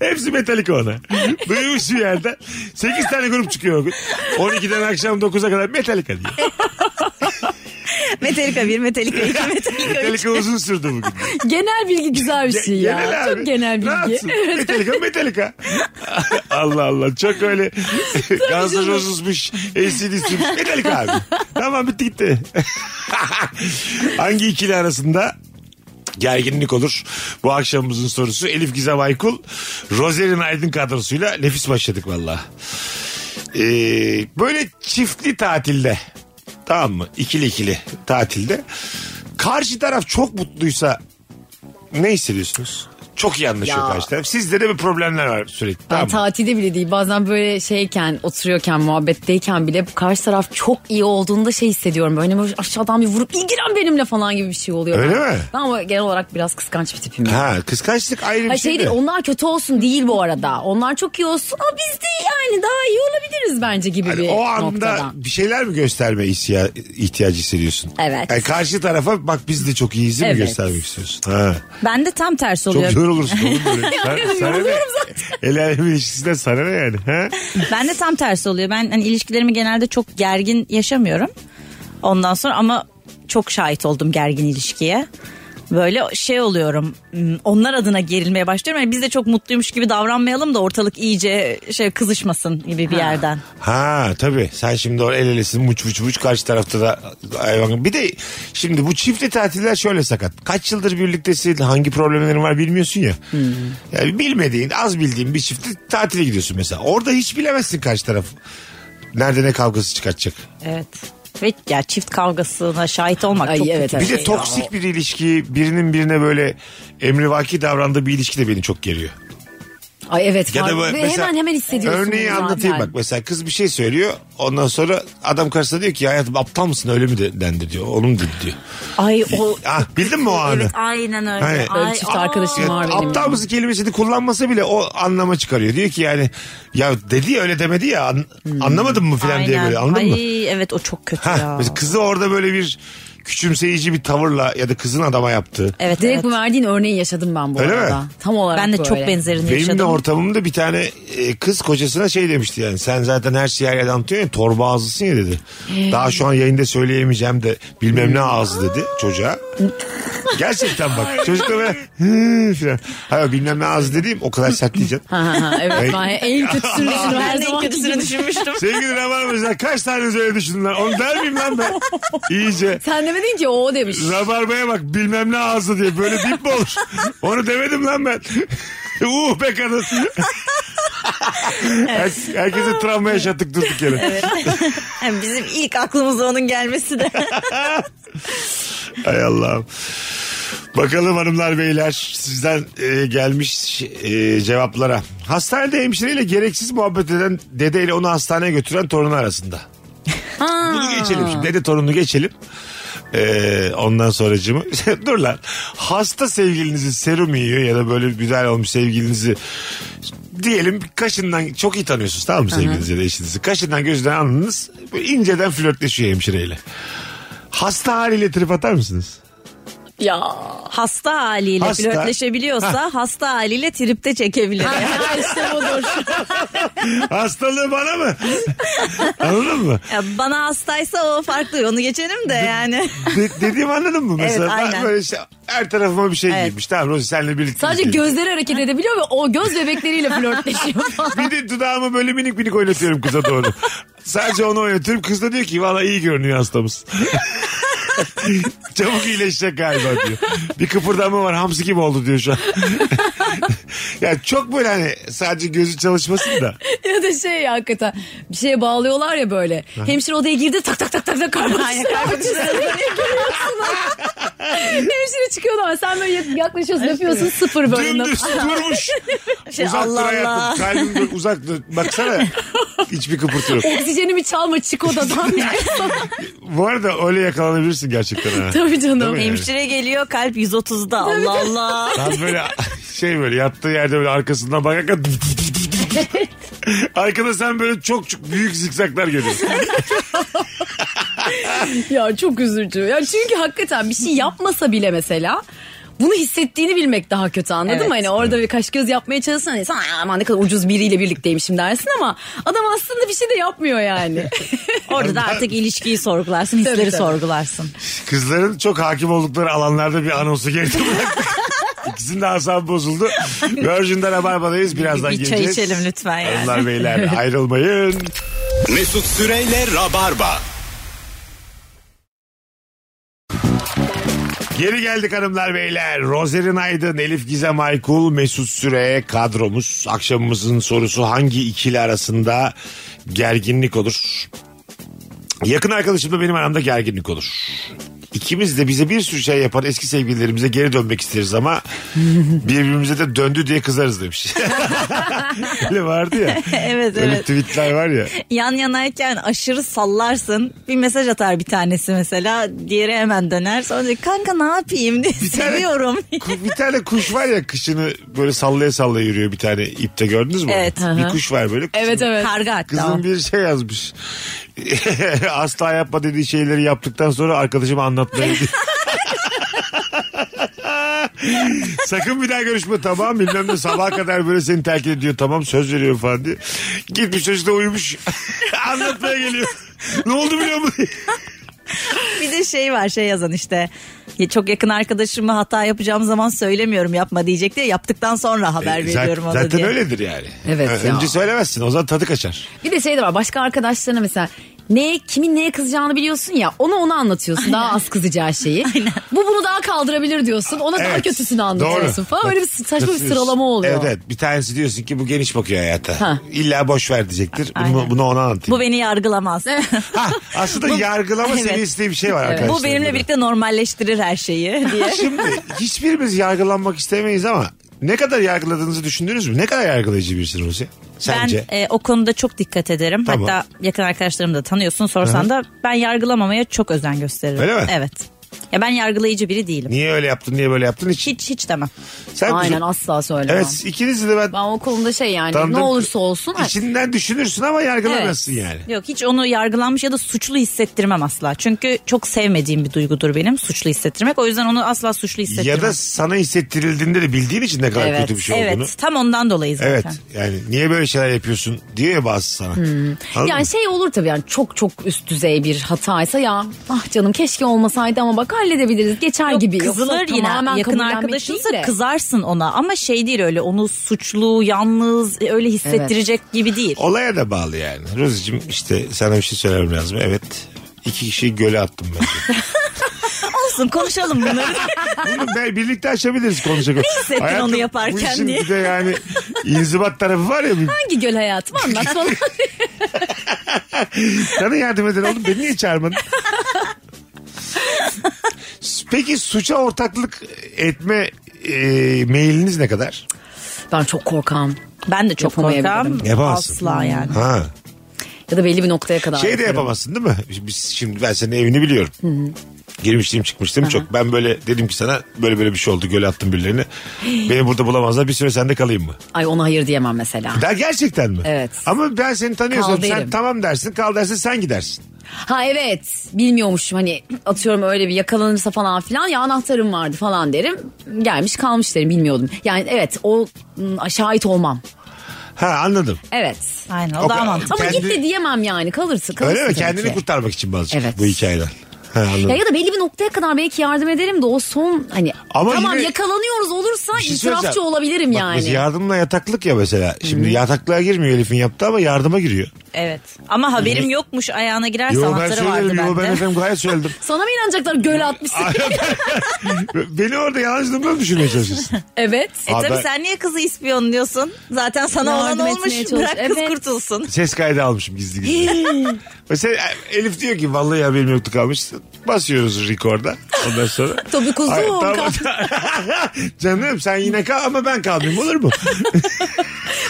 [SPEAKER 3] Hepsi Metallica ona. Duymuş bir yerden. 8 tane grup çıkıyor o gün. 12'den akşam 9'a kadar Metallica diyor.
[SPEAKER 4] Metallica 1, Metallica 2, Metallica 3.
[SPEAKER 3] Metallica uzun sürdü bugün.
[SPEAKER 5] Genel bilgi güzel bir şey ya.
[SPEAKER 3] Genel abi.
[SPEAKER 5] Çok genel
[SPEAKER 3] Ne
[SPEAKER 5] bilgi. [laughs]
[SPEAKER 3] yapsın? Metallica Metallica. [laughs] Allah Allah çok öyle Guns N' Roses'mış ACDC'miş Metallica abi. tamam bitti gitti. [laughs] Hangi ikili arasında gerginlik olur? Bu akşamımızın sorusu Elif Gizem Aykul, Rozer'in Aydın kadrosuyla nefis başladık valla. Ee, böyle çiftli tatilde tamam mı? İkili ikili tatilde karşı taraf çok mutluysa ne hissediyorsunuz? Çok iyi anlaşıyor
[SPEAKER 5] Ya.
[SPEAKER 3] karşı taraf. Sizde de bir problemler var sürekli.
[SPEAKER 5] Ben
[SPEAKER 3] Tamam. mı?
[SPEAKER 5] tatilde bile değil bazen böyle şeyken oturuyorken muhabbetteyken bile karşı taraf çok iyi olduğunda şey hissediyorum. Böyle böyle aşağıdan bir vurup ilgilen benimle falan gibi bir şey oluyor.
[SPEAKER 3] Öyle
[SPEAKER 5] Ben-
[SPEAKER 3] mi?
[SPEAKER 5] Ben ama genel olarak biraz kıskanç bir tipim. Ha,
[SPEAKER 3] Ha kıskançlık ayrı bir
[SPEAKER 5] şey
[SPEAKER 3] şey.
[SPEAKER 5] değil,
[SPEAKER 3] de.
[SPEAKER 5] onlar kötü olsun değil bu arada. Onlar çok iyi olsun ama biz de yani daha iyi olabiliriz bence gibi
[SPEAKER 3] Hani
[SPEAKER 5] bir
[SPEAKER 3] o anda
[SPEAKER 5] noktada.
[SPEAKER 3] bir şeyler mi gösterme isya- ihtiyacı hissediyorsun?
[SPEAKER 5] Evet.
[SPEAKER 3] Yani karşı tarafa bak biz de çok iyiyiz mi
[SPEAKER 5] Evet.
[SPEAKER 3] göstermek istiyorsun? Ha.
[SPEAKER 4] Ben de tam tersi
[SPEAKER 3] Çok
[SPEAKER 4] oluyor.
[SPEAKER 3] yorulursun oğlem böyle. Sen, sana ne? El alemin ilişkisinden sana ne yani? Ha?
[SPEAKER 4] Ben de tam tersi oluyor. Ben hani ilişkilerimi genelde çok gergin yaşamıyorum. Ondan sonra ama çok şahit oldum gergin ilişkiye. Böyle şey oluyorum. hmm, Onlar adına gerilmeye başlıyorum. Yani biz de çok mutluymuş gibi davranmayalım da ortalık iyice şey kızışmasın gibi bir yerden.
[SPEAKER 3] Ha tabii sen şimdi orada el elesin muç muç muç karşı tarafta da hayvan. Bir de şimdi bu çiftli tatiller şöyle sakat. Kaç yıldır birliktesin hangi problemlerin var bilmiyorsun ya. Yani bilmediğin az bildiğin bir çiftli tatile gidiyorsun mesela. Orada hiç bilemezsin karşı taraf. Nerede ne kavgası çıkartacak.
[SPEAKER 4] Evet. Ve ya çift kavgasına şahit olmak
[SPEAKER 5] Ay,
[SPEAKER 4] çok
[SPEAKER 5] evet,
[SPEAKER 4] kötü. şey
[SPEAKER 5] evet.
[SPEAKER 3] Bir de toksik bir ilişki birinin birine böyle emrivaki davrandığı bir ilişki de beni çok geriyor.
[SPEAKER 5] Ay evet
[SPEAKER 3] Ya da
[SPEAKER 5] var.
[SPEAKER 3] böyle
[SPEAKER 5] Ve
[SPEAKER 3] mesela-
[SPEAKER 5] hemen hemen hissediyorsun.
[SPEAKER 3] Örneği
[SPEAKER 5] bunu
[SPEAKER 3] anlatayım
[SPEAKER 5] zaten.
[SPEAKER 3] bak. Mesela kız bir şey söylüyor. Ondan sonra adam karşısına diyor ki hayatım aptal mısın öyle mi de- dendi diyor. Onu mu dedi diyor.
[SPEAKER 4] Ay
[SPEAKER 3] [laughs]
[SPEAKER 4] o
[SPEAKER 3] Ah, bildin mi o anı?
[SPEAKER 4] Evet aynen öyle.
[SPEAKER 3] Hayır.
[SPEAKER 4] Ay,
[SPEAKER 5] Böyle çift
[SPEAKER 4] aa.
[SPEAKER 5] arkadaşım
[SPEAKER 3] Evet,
[SPEAKER 5] var benim.
[SPEAKER 3] aptal mısın kelimesini kullanması bile o anlama çıkarıyor. Diyor ki yani ya dedi ya, öyle demedi ya an-
[SPEAKER 5] Hmm.
[SPEAKER 3] anlamadın mı filan diye
[SPEAKER 4] Aynen.
[SPEAKER 3] böyle anladın
[SPEAKER 4] Ay,
[SPEAKER 3] mı?
[SPEAKER 4] evet o çok kötü
[SPEAKER 3] Ha,
[SPEAKER 4] ya.
[SPEAKER 3] mesela kızı orada böyle bir küçümseyici bir tavırla ya da kızın adama yaptığı.
[SPEAKER 4] Evet,
[SPEAKER 5] Direkt
[SPEAKER 4] evet.
[SPEAKER 5] bu verdiğin örneği yaşadım ben bu
[SPEAKER 3] Öyle
[SPEAKER 5] arada.
[SPEAKER 3] mi?
[SPEAKER 5] Tam olarak
[SPEAKER 4] Ben de çok
[SPEAKER 5] böyle. [laughs]
[SPEAKER 4] benzerini
[SPEAKER 3] Benim de
[SPEAKER 4] yaşadım.
[SPEAKER 3] ortamımda bir tane e, kız kocasına şey demişti yani sen zaten her şeyi her yerden anlatıyorsun ya torba ağzısın ya dedi. Daha şu an yayında söyleyemeyeceğim de bilmem ne ağzı dedi çocuğa. Gerçekten bak çocuk da böyle "Hı" falan. Hayır bilmem ne ağzı dediğim o kadar sert diyeceksin.
[SPEAKER 5] Ha, ha, ha, evet ben en
[SPEAKER 3] [laughs]
[SPEAKER 5] kötüsünü düşünüyorum.
[SPEAKER 4] Ben
[SPEAKER 5] Her
[SPEAKER 4] de en
[SPEAKER 5] zamanki
[SPEAKER 4] kötüsünü
[SPEAKER 5] gibi.
[SPEAKER 4] düşünmüştüm.
[SPEAKER 3] Sevgili Rabarbacılar kaç tane öyle düşündüler onu der miyim lan ben? İyice.
[SPEAKER 5] Sen demedin ki o demiş.
[SPEAKER 3] [laughs] Rabarbaya bak bilmem ne ağzı diye böyle bip mi olur? Onu demedim lan ben. [laughs] uh be kadın. Her- herkese travma yaşattık durduk yere.
[SPEAKER 4] [laughs] Yani bizim ilk aklımıza onun gelmesi
[SPEAKER 3] [laughs]
[SPEAKER 4] de.
[SPEAKER 3] Hay Allah'ım. Bakalım hanımlar beyler sizden e, gelmiş e, cevaplara. Hastanede hemşireyle gereksiz muhabbet eden dedeyle onu hastaneye götüren torunu arasında. Bunu geçelim şimdi. Dede torununu geçelim. Ee, ondan sonracığımı. [laughs] Dur lan. Hasta sevgilinizi serum yiyor ya da böyle güzel olmuş sevgilinizi diyelim kaşından çok iyi tanıyorsunuz tamam mı sevgilinizi ya da eşinizi. Kaşından gözünden anladınız. Böyle inceden flörtleşiyor hemşireyle. Hasta haliyle trip atar mısınız?
[SPEAKER 5] Ya.
[SPEAKER 4] hasta haliyle
[SPEAKER 3] Hasta.
[SPEAKER 4] flörtleşebiliyorsa hasta haliyle tripte çekebilir.
[SPEAKER 5] işte
[SPEAKER 3] [laughs]
[SPEAKER 5] budur.
[SPEAKER 3] Hastalığı bana mı? Anladın mı?
[SPEAKER 4] Ya bana hastaysa o farklı onu geçelim de yani.
[SPEAKER 3] De- dediğimi anladın mı mesela? Ben
[SPEAKER 4] aynen.
[SPEAKER 3] böyle işte her tarafıma bir şey
[SPEAKER 4] Evet.
[SPEAKER 3] giymiş. Tamam Rozi senle birlikte.
[SPEAKER 5] Sadece
[SPEAKER 3] gidelim.
[SPEAKER 5] gözleri hareket edebiliyor ve o göz bebekleriyle flörtleşiyor falan.
[SPEAKER 3] Bir de dudağımı böyle minik minik oynatıyorum kıza doğru. Sadece onu oynatıyorum. Kız da diyor ki valla iyi görünüyor hastamız. [laughs] Çabuk iyileşecek galiba diyor. Bir kıpırdama var hamsi gibi oldu diyor şu an. [laughs] ya çok böyle hani sadece gözü çalışmasın da.
[SPEAKER 5] [laughs] ya da şey ya hakikaten bir şeye bağlıyorlar ya böyle. Hemşire odaya girdi tak tak tak tak tak karmaşa. [laughs] Hemşire çıkıyordu ama sen böyle yaklaşıyorsun öpüyorsun sıfır böyle.
[SPEAKER 3] Dümdüz durmuş.
[SPEAKER 4] Şey,
[SPEAKER 3] uzak dur
[SPEAKER 4] [laughs] Allah Allah.
[SPEAKER 3] hayatım. Kalbim dur uzak dur. Baksana hiçbir kıpırtı yok.
[SPEAKER 5] Oksijenimi çalma çık odadan.
[SPEAKER 3] Bu arada öyle yakalanabilirsin gerçekten
[SPEAKER 4] [laughs]
[SPEAKER 3] ha.
[SPEAKER 5] [laughs] Tabii canım.
[SPEAKER 3] Değil mi?
[SPEAKER 4] Hemşire geliyor kalp 130'da Allah
[SPEAKER 5] [laughs]
[SPEAKER 4] Allah.
[SPEAKER 3] Ben böyle şey böyle yattığı yerde böyle arkasından bakarken [laughs] Arkada sen böyle çok çok büyük zikzaklar
[SPEAKER 4] [laughs]
[SPEAKER 3] görüyorsun.
[SPEAKER 5] Ya çok üzücü. Ya çünkü hakikaten bir şey yapmasa bile mesela bunu hissettiğini bilmek daha kötü anladın
[SPEAKER 4] Evet.
[SPEAKER 5] mı? Hani orada bir kaş göz yapmaya çalışsan hani sen "Ay, aman ne kadar ucuz biriyle birlikteymişim dersin ama adam aslında bir şey de yapmıyor yani.
[SPEAKER 4] Orada da artık ilişkiyi sorgularsın hisleri
[SPEAKER 5] tabii.
[SPEAKER 4] sorgularsın.
[SPEAKER 3] Kızların çok hakim oldukları alanlarda bir anonsu geride bıraktık. [laughs] İkisinin de asabı
[SPEAKER 4] [laughs]
[SPEAKER 3] bozuldu. Virgin'de Rabarba'dayız. Birazdan
[SPEAKER 4] Bir çay
[SPEAKER 3] geleceğiz.
[SPEAKER 4] içelim lütfen yani.
[SPEAKER 3] Hanımlar,
[SPEAKER 4] [laughs]
[SPEAKER 3] beyler ayrılmayın.
[SPEAKER 2] Mesut Süreyle Rabarba.
[SPEAKER 3] Geri geldik hanımlar beyler. Rozerin Aydın, Elif Gizem Aykul, Mesut Süre kadromuz. Akşamımızın sorusu hangi ikili arasında gerginlik olur? Yakın arkadaşımla benim aramda gerginlik olur. İkimiz de bize bir sürü şey yapar eski sevgililerimize geri dönmek isteriz
[SPEAKER 4] [laughs]
[SPEAKER 3] ama birbirimize de döndü diye kızarız demiş. Öyle vardı ya.
[SPEAKER 4] Evet,
[SPEAKER 3] Öyle
[SPEAKER 4] evet.
[SPEAKER 3] tweetler var ya.
[SPEAKER 4] Yan yanayken aşırı sallarsın. Bir mesaj atar bir tanesi mesela. Diğeri hemen döner. Sonra diyor, kanka ne yapayım [laughs] diye seviyorum.
[SPEAKER 3] Ku- bir tane kuş var ya kışını böyle sallaya sallaya yürüyor bir tane ipte gördünüz mü?
[SPEAKER 4] Evet.
[SPEAKER 3] Bir kuş var böyle.
[SPEAKER 5] [laughs] Evet evet.
[SPEAKER 4] Karga hatta. o.
[SPEAKER 3] Kızım bir şey yazmış. [laughs] Asla yapma dediği şeyleri yaptıktan sonra arkadaşıma anlatmayın diye. [laughs] Sakın bir daha görüşme tamam bilmem ne sabaha kadar böyle seni terk ediyor tamam söz veriyorum falan diye. Gitmiş çocuk da uyumuş. [laughs] Anlatmaya geliyor. ne oldu biliyor musun?
[SPEAKER 4] Bir de şey var şey yazan işte. Ya Çok yakın arkadaşıma hata yapacağım zaman söylemiyorum yapma diyecek diye yaptıktan sonra haber
[SPEAKER 3] Zaten-
[SPEAKER 4] veriyorum ona
[SPEAKER 3] E, zaten
[SPEAKER 4] diye.
[SPEAKER 3] öyledir yani.
[SPEAKER 5] Evet
[SPEAKER 3] Ö-
[SPEAKER 5] ya.
[SPEAKER 3] Önce söylemezsin o zaman tadı kaçar.
[SPEAKER 5] Bir de şey de var başka arkadaşlarına mesela ne kimin neye kızacağını biliyorsun ya ona onu anlatıyorsun daha az
[SPEAKER 4] [laughs]
[SPEAKER 5] kızacağı şeyi. Bu bunu daha kaldırabilir diyorsun ona daha
[SPEAKER 3] Evet.
[SPEAKER 5] kötüsünü anlatıyorsun
[SPEAKER 3] Doğru.
[SPEAKER 5] falan öyle bir saçma bir
[SPEAKER 3] Katılıyorsun.
[SPEAKER 5] sıralama oluyor.
[SPEAKER 3] Evet evet bir tanesi diyorsun ki bu geniş bakıyor hayata.
[SPEAKER 5] Ha.
[SPEAKER 3] İlla boş ver diyecektir. Bunu,
[SPEAKER 4] Aynen.
[SPEAKER 3] bunu ona anlatayım.
[SPEAKER 4] Bu beni yargılamaz.
[SPEAKER 3] Ha, aslında
[SPEAKER 4] [laughs] Bu-
[SPEAKER 3] yargılama
[SPEAKER 4] Evet.
[SPEAKER 3] seviyesi diye bir şey var arkadaşlar.
[SPEAKER 4] Bu benimle birlikte normalleştirir
[SPEAKER 3] [laughs]
[SPEAKER 4] her şeyi diye.
[SPEAKER 3] Şimdi hiçbirimiz yargılanmak istemeyiz ama ne kadar yargıladığınızı düşündünüz mü? Ne kadar yargılayıcı birisin Rusya? Sence?
[SPEAKER 4] Ben e, o konuda çok dikkat ederim.
[SPEAKER 3] Tamam.
[SPEAKER 4] Hatta yakın arkadaşlarımı da tanıyorsun sorsan da ben yargılamamaya çok özen gösteririm.
[SPEAKER 3] Öyle mi?
[SPEAKER 4] Evet. Ya ben yargılayıcı biri değilim.
[SPEAKER 3] Niye öyle yaptın, niye böyle yaptın? Hiç.
[SPEAKER 4] Hiç hiç demem.
[SPEAKER 3] Sen
[SPEAKER 5] Aynen
[SPEAKER 3] kuzu-
[SPEAKER 5] asla söylemem.
[SPEAKER 3] Evet ikinizi de ben,
[SPEAKER 5] Ben o konuda şey yani
[SPEAKER 3] tanıdım.
[SPEAKER 5] ne olursa olsun.
[SPEAKER 3] İçinden düşünürsün ama yargılamazsın yani.
[SPEAKER 4] Yok hiç onu yargılanmış ya da suçlu hissettirmem asla. Çünkü çok sevmediğim bir duygudur benim suçlu hissettirmek. O yüzden onu asla suçlu hissettirmem.
[SPEAKER 3] Ya da sana hissettirildiğinde de bildiğin için ne kadar
[SPEAKER 5] Evet,
[SPEAKER 3] kötü bir şey
[SPEAKER 4] evet
[SPEAKER 3] olduğunu.
[SPEAKER 4] tam ondan dolayı zaten. Hmm.
[SPEAKER 3] Evet yani niye böyle şeyler yapıyorsun diyor ya bazı sana. Anladın mı?
[SPEAKER 5] Yani şey olur tabii yani çok çok üst düzey bir hataysa ya ah canım keşke olmasaydı ama bak halledebiliriz geçer
[SPEAKER 4] Yok,
[SPEAKER 5] gibi. Yoksa
[SPEAKER 4] kızılır
[SPEAKER 5] tamamen
[SPEAKER 4] yine yakın
[SPEAKER 5] kabullenmek
[SPEAKER 4] arkadaşınsa
[SPEAKER 5] değil de.
[SPEAKER 4] kızarsın ona ama şey değil öyle onu suçlu yalnız e, öyle hissettirecek gibi değil.
[SPEAKER 3] Olaya da bağlı yani. Rozi'cim işte sana bir şey söylemem lazım. Evet. İki kişiyi göle attım ben.
[SPEAKER 4] [laughs] Olsun konuşalım bunları.
[SPEAKER 3] Bunu ben birlikte aşabiliriz konuşacak. Ne
[SPEAKER 4] hissettin onu yaparken
[SPEAKER 3] bu işin
[SPEAKER 4] diye?
[SPEAKER 3] Bir de yani inzibat tarafı var ya. bir-
[SPEAKER 5] [laughs] Hangi göl hayatım anlat bana.
[SPEAKER 3] Sana yardım eden oğlum beni niye
[SPEAKER 4] [laughs]
[SPEAKER 3] çağırmadın? Peki suça ortaklık etme e, meyiliniz ne kadar?
[SPEAKER 5] [laughs] ben çok korkam.
[SPEAKER 4] Ben de çok korkam.
[SPEAKER 5] Yapamayabilirim.
[SPEAKER 3] Yapamazsın.
[SPEAKER 4] Asla yani.
[SPEAKER 3] Ha.
[SPEAKER 5] Ya da belli bir noktaya kadar.
[SPEAKER 3] Şey de
[SPEAKER 5] yaparım.
[SPEAKER 3] yapamazsın değil mi? Biz şimdi ben senin evini biliyorum. Girmişliğim çıkmıştım çok. Ben böyle dedim ki sana böyle böyle bir şey oldu. Göle attım
[SPEAKER 5] [gasps]
[SPEAKER 3] birilerini. Beni burada bulamazlar. Bir süre sende kalayım mı?
[SPEAKER 5] Ay ona hayır diyemem mesela.
[SPEAKER 3] Daha gerçekten mi?
[SPEAKER 5] Evet.
[SPEAKER 3] Ama ben seni tanıyorsam
[SPEAKER 5] Kal
[SPEAKER 3] sen
[SPEAKER 5] derim.
[SPEAKER 3] tamam dersin kal dersin sen gidersin.
[SPEAKER 5] Ha evet bilmiyormuşum hani atıyorum öyle bir yakalanırsa falan filan ya anahtarım vardı falan derim. Gelmiş kalmış derim bilmiyordum. Yani evet o ım, şahit olmam.
[SPEAKER 3] Ha anladım.
[SPEAKER 5] Evet.
[SPEAKER 4] Aynen o
[SPEAKER 3] O
[SPEAKER 4] daha
[SPEAKER 3] kadar-
[SPEAKER 4] mantıklı.
[SPEAKER 5] Ama
[SPEAKER 3] Kendi-
[SPEAKER 5] git de diyemem yani kalırsın. kalırsın
[SPEAKER 3] Öyle mi?
[SPEAKER 5] tabii
[SPEAKER 3] Kendini
[SPEAKER 5] ki.
[SPEAKER 3] kurtarmak için bazı
[SPEAKER 5] Evet.
[SPEAKER 3] bu hikayeden. Ha, anladım.
[SPEAKER 5] Ya, ya da belli bir noktaya kadar belki yardım ederim de o son hani
[SPEAKER 3] Ama
[SPEAKER 5] tamam
[SPEAKER 3] yine-
[SPEAKER 5] yakalanıyoruz olursa
[SPEAKER 3] Bir şey söyleyeceğim.
[SPEAKER 5] itirafçı olabilirim
[SPEAKER 3] Bak,
[SPEAKER 5] yani.
[SPEAKER 3] mesela Yardımla yataklık ya mesela. Şimdi yataklığa girmiyor Elif'in yaptı ama yardıma giriyor.
[SPEAKER 4] Evet. Ama haberim yokmuş ayağına girerse
[SPEAKER 3] Yo ben
[SPEAKER 4] anahtarı vardı
[SPEAKER 3] söylerim. Yo ben
[SPEAKER 4] bende.
[SPEAKER 3] efendim gayet
[SPEAKER 5] [laughs]
[SPEAKER 3] söyledim.
[SPEAKER 5] Sana mı inanacaklar göl atmışsın?
[SPEAKER 3] Beni orada yalancı durumda mı düşünmeye çalışıyorsun?
[SPEAKER 5] [laughs] evet.
[SPEAKER 4] E
[SPEAKER 3] Abi
[SPEAKER 4] tabii
[SPEAKER 3] ben-
[SPEAKER 4] sen niye kızı ispiyonluyorsun? Zaten sana
[SPEAKER 5] Yardım
[SPEAKER 4] olan
[SPEAKER 5] etmeye
[SPEAKER 4] olmuş.
[SPEAKER 5] çalış.
[SPEAKER 4] Bırak kız
[SPEAKER 5] Evet.
[SPEAKER 4] kurtulsun.
[SPEAKER 3] Ses kaydı almışım gizli gizli. Mesela Elif diyor ki vallahi haberim yoktu kalmış. Basıyoruz rekorda ondan sonra.
[SPEAKER 5] Tabii kuzum.
[SPEAKER 3] Ay, tamam.
[SPEAKER 5] kal-
[SPEAKER 3] [laughs] Canım sen yine kal ama ben kalmayayım olur mu?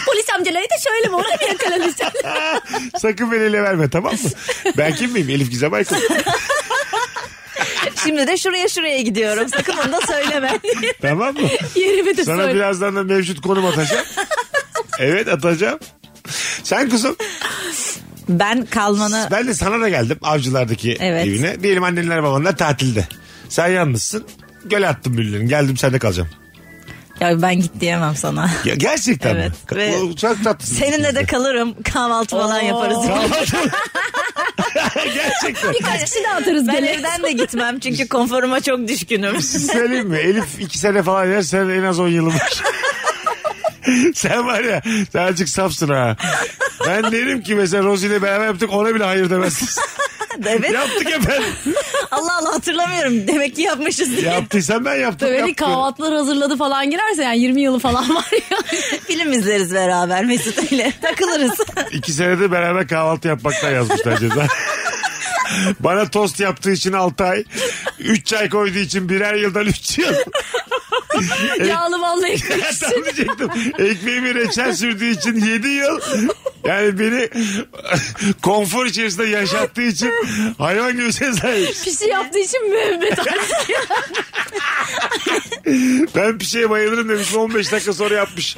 [SPEAKER 5] Polis amcaları da şöyle mi? Orada mı yakalanacak?
[SPEAKER 3] [laughs] Sakın beni ele verme tamam mı? Ben kim miyim? Elif Gizem Aykut.
[SPEAKER 4] Şimdi de şuraya şuraya gidiyorum. Sakın onu da söyleme.
[SPEAKER 3] tamam mı?
[SPEAKER 5] [laughs] Yerimi de
[SPEAKER 3] Sana
[SPEAKER 5] söyle.
[SPEAKER 3] birazdan da mevcut konum atacağım. evet atacağım. Sen kızım
[SPEAKER 4] ben kalmanı
[SPEAKER 3] ben de sana da geldim avcılardaki
[SPEAKER 4] Evet.
[SPEAKER 3] evine. Diyelim annenler babanlar tatilde. Sen yalnızsın. Göle attım birilerini. Geldim sende kalacağım.
[SPEAKER 4] ya ben git diyemem sana.
[SPEAKER 3] Ya gerçekten
[SPEAKER 4] Evet,
[SPEAKER 3] mi?
[SPEAKER 4] ve-
[SPEAKER 3] O Çok tatlısın.
[SPEAKER 4] Seninle de kalırım. Kahvaltı falan
[SPEAKER 5] Oo.
[SPEAKER 4] yaparız.
[SPEAKER 3] [laughs] Gerçekten.
[SPEAKER 5] Birkaç kişi de atarız
[SPEAKER 4] Ben
[SPEAKER 5] gele.
[SPEAKER 4] evden de gitmem çünkü konforuma
[SPEAKER 3] [laughs]
[SPEAKER 4] çok düşkünüm.
[SPEAKER 3] Söyleyeyim mi? Elif iki sene falan yer sen en az 10 yılım var. [laughs] sen var ya sen azıcık safsın ha. Ben derim ki mesela Rosie ile beraber yaptık ona bile hayır demezsin.
[SPEAKER 4] [laughs] evet.
[SPEAKER 3] Yaptık
[SPEAKER 4] [laughs]
[SPEAKER 3] efendim.
[SPEAKER 4] Allah Allah hatırlamıyorum. Demek ki yapmışız diye.
[SPEAKER 3] Yaptıysan ben yaptım.
[SPEAKER 5] Böyle
[SPEAKER 3] yaptım.
[SPEAKER 5] kahvaltılar hazırladı falan girerse yani 20 yılı falan var ya.
[SPEAKER 4] Film izleriz beraber Mesut ile. Takılırız.
[SPEAKER 3] İki senede [laughs] beraber kahvaltı yapmaktan yazmışlar ceza. Bana tost yaptığı için 6 ay. Üç çay koyduğu için birer yıldan üç yıl.
[SPEAKER 5] Yağlı ballı [laughs] ekmek.
[SPEAKER 3] Tam diyecektim. Ekmeğimi reçel sürdüğü için 7 yıl yani beni [laughs] konfor içerisinde yaşattığı için hayvan gibi ceza yemiş.
[SPEAKER 5] Pişi yaptığı için müebbet.
[SPEAKER 3] Ben bir şeye bayılırım demiş 15 dakika sonra yapmış.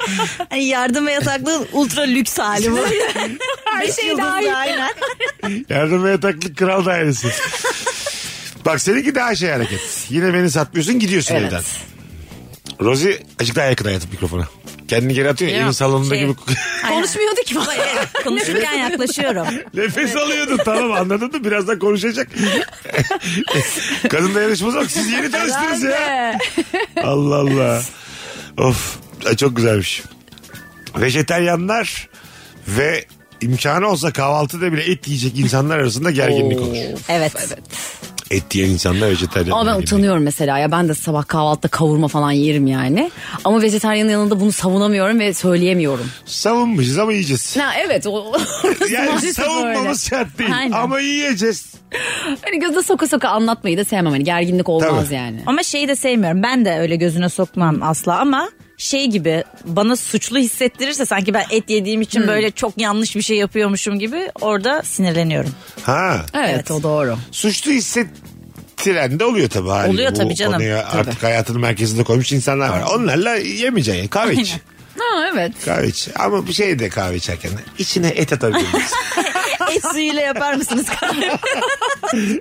[SPEAKER 4] Hani yardım ve yataklı ultra lüks hali bu.
[SPEAKER 5] Her
[SPEAKER 4] Beş
[SPEAKER 5] şey
[SPEAKER 4] yıldızlı
[SPEAKER 5] dahil.
[SPEAKER 4] aynen.
[SPEAKER 3] Yardım ve yataklık kral dairesi. Bak seninki daha şey hareket. Yine beni satmıyorsun gidiyorsun
[SPEAKER 5] Evet.
[SPEAKER 3] evden. Rozi azıcık daha yakın hayatım mikrofona. Kendini geri atıyor ya,
[SPEAKER 4] Yok,
[SPEAKER 3] evin salonunda
[SPEAKER 4] şey.
[SPEAKER 3] gibi
[SPEAKER 5] Konuşmuyordu ki falan. [laughs]
[SPEAKER 4] Konuşurken yaklaşıyorum.
[SPEAKER 3] nefes alıyordu tamam anladın mı? Birazdan
[SPEAKER 5] [laughs]
[SPEAKER 3] konuşacak. Kadın dayanışması yok. Siz yeni tanıştınız ya.
[SPEAKER 5] [laughs]
[SPEAKER 3] Allah Allah. Of Ay, çok güzelmiş. Vejeteryanlar ve imkanı olsa kahvaltıda bile et yiyecek insanlar arasında gerginlik olur.
[SPEAKER 4] Evet.
[SPEAKER 3] Et yiyen insanlar vejeteryan.
[SPEAKER 5] Ama ben utanıyorum mesela ya ben de sabah kahvaltıda kavurma falan yerim yani. Ama vejetaryenin yanında bunu savunamıyorum ve söyleyemiyorum.
[SPEAKER 3] Savunmuşuz ama yiyeceğiz.
[SPEAKER 5] Ha evet o [laughs] orası
[SPEAKER 3] Yani
[SPEAKER 5] maalesef
[SPEAKER 3] savunmamız
[SPEAKER 5] öyle.
[SPEAKER 3] şart değil
[SPEAKER 5] Aynen.
[SPEAKER 3] ama yiyeceğiz.
[SPEAKER 5] Hani gözde soka soka anlatmayı da sevmem hani gerginlik olmaz
[SPEAKER 3] Tabii.
[SPEAKER 5] yani.
[SPEAKER 4] Ama şeyi de sevmiyorum. Ben de öyle gözüne sokmam asla ama şey gibi bana suçlu hissettirirse sanki ben et yediğim için böyle çok yanlış bir şey yapıyormuşum gibi orada sinirleniyorum.
[SPEAKER 3] Ha
[SPEAKER 5] Evet,
[SPEAKER 4] Evet.
[SPEAKER 5] o doğru.
[SPEAKER 3] suçlu hissettiren de oluyor tabii. haliyle.
[SPEAKER 4] Oluyor
[SPEAKER 3] Bu
[SPEAKER 4] tabii canım.
[SPEAKER 3] konuya
[SPEAKER 4] Tabii.
[SPEAKER 3] Artık hayatının merkezinde koymuş insanlar var. Onlarla yemeyeceksin. yani. Kahve iç.
[SPEAKER 5] Ha evet.
[SPEAKER 3] Kahve iç. Ama bir şey de kahve içerken içine et
[SPEAKER 4] [laughs]
[SPEAKER 3] atabiliriz.
[SPEAKER 4] et suyuyla yapar mısınız kahve?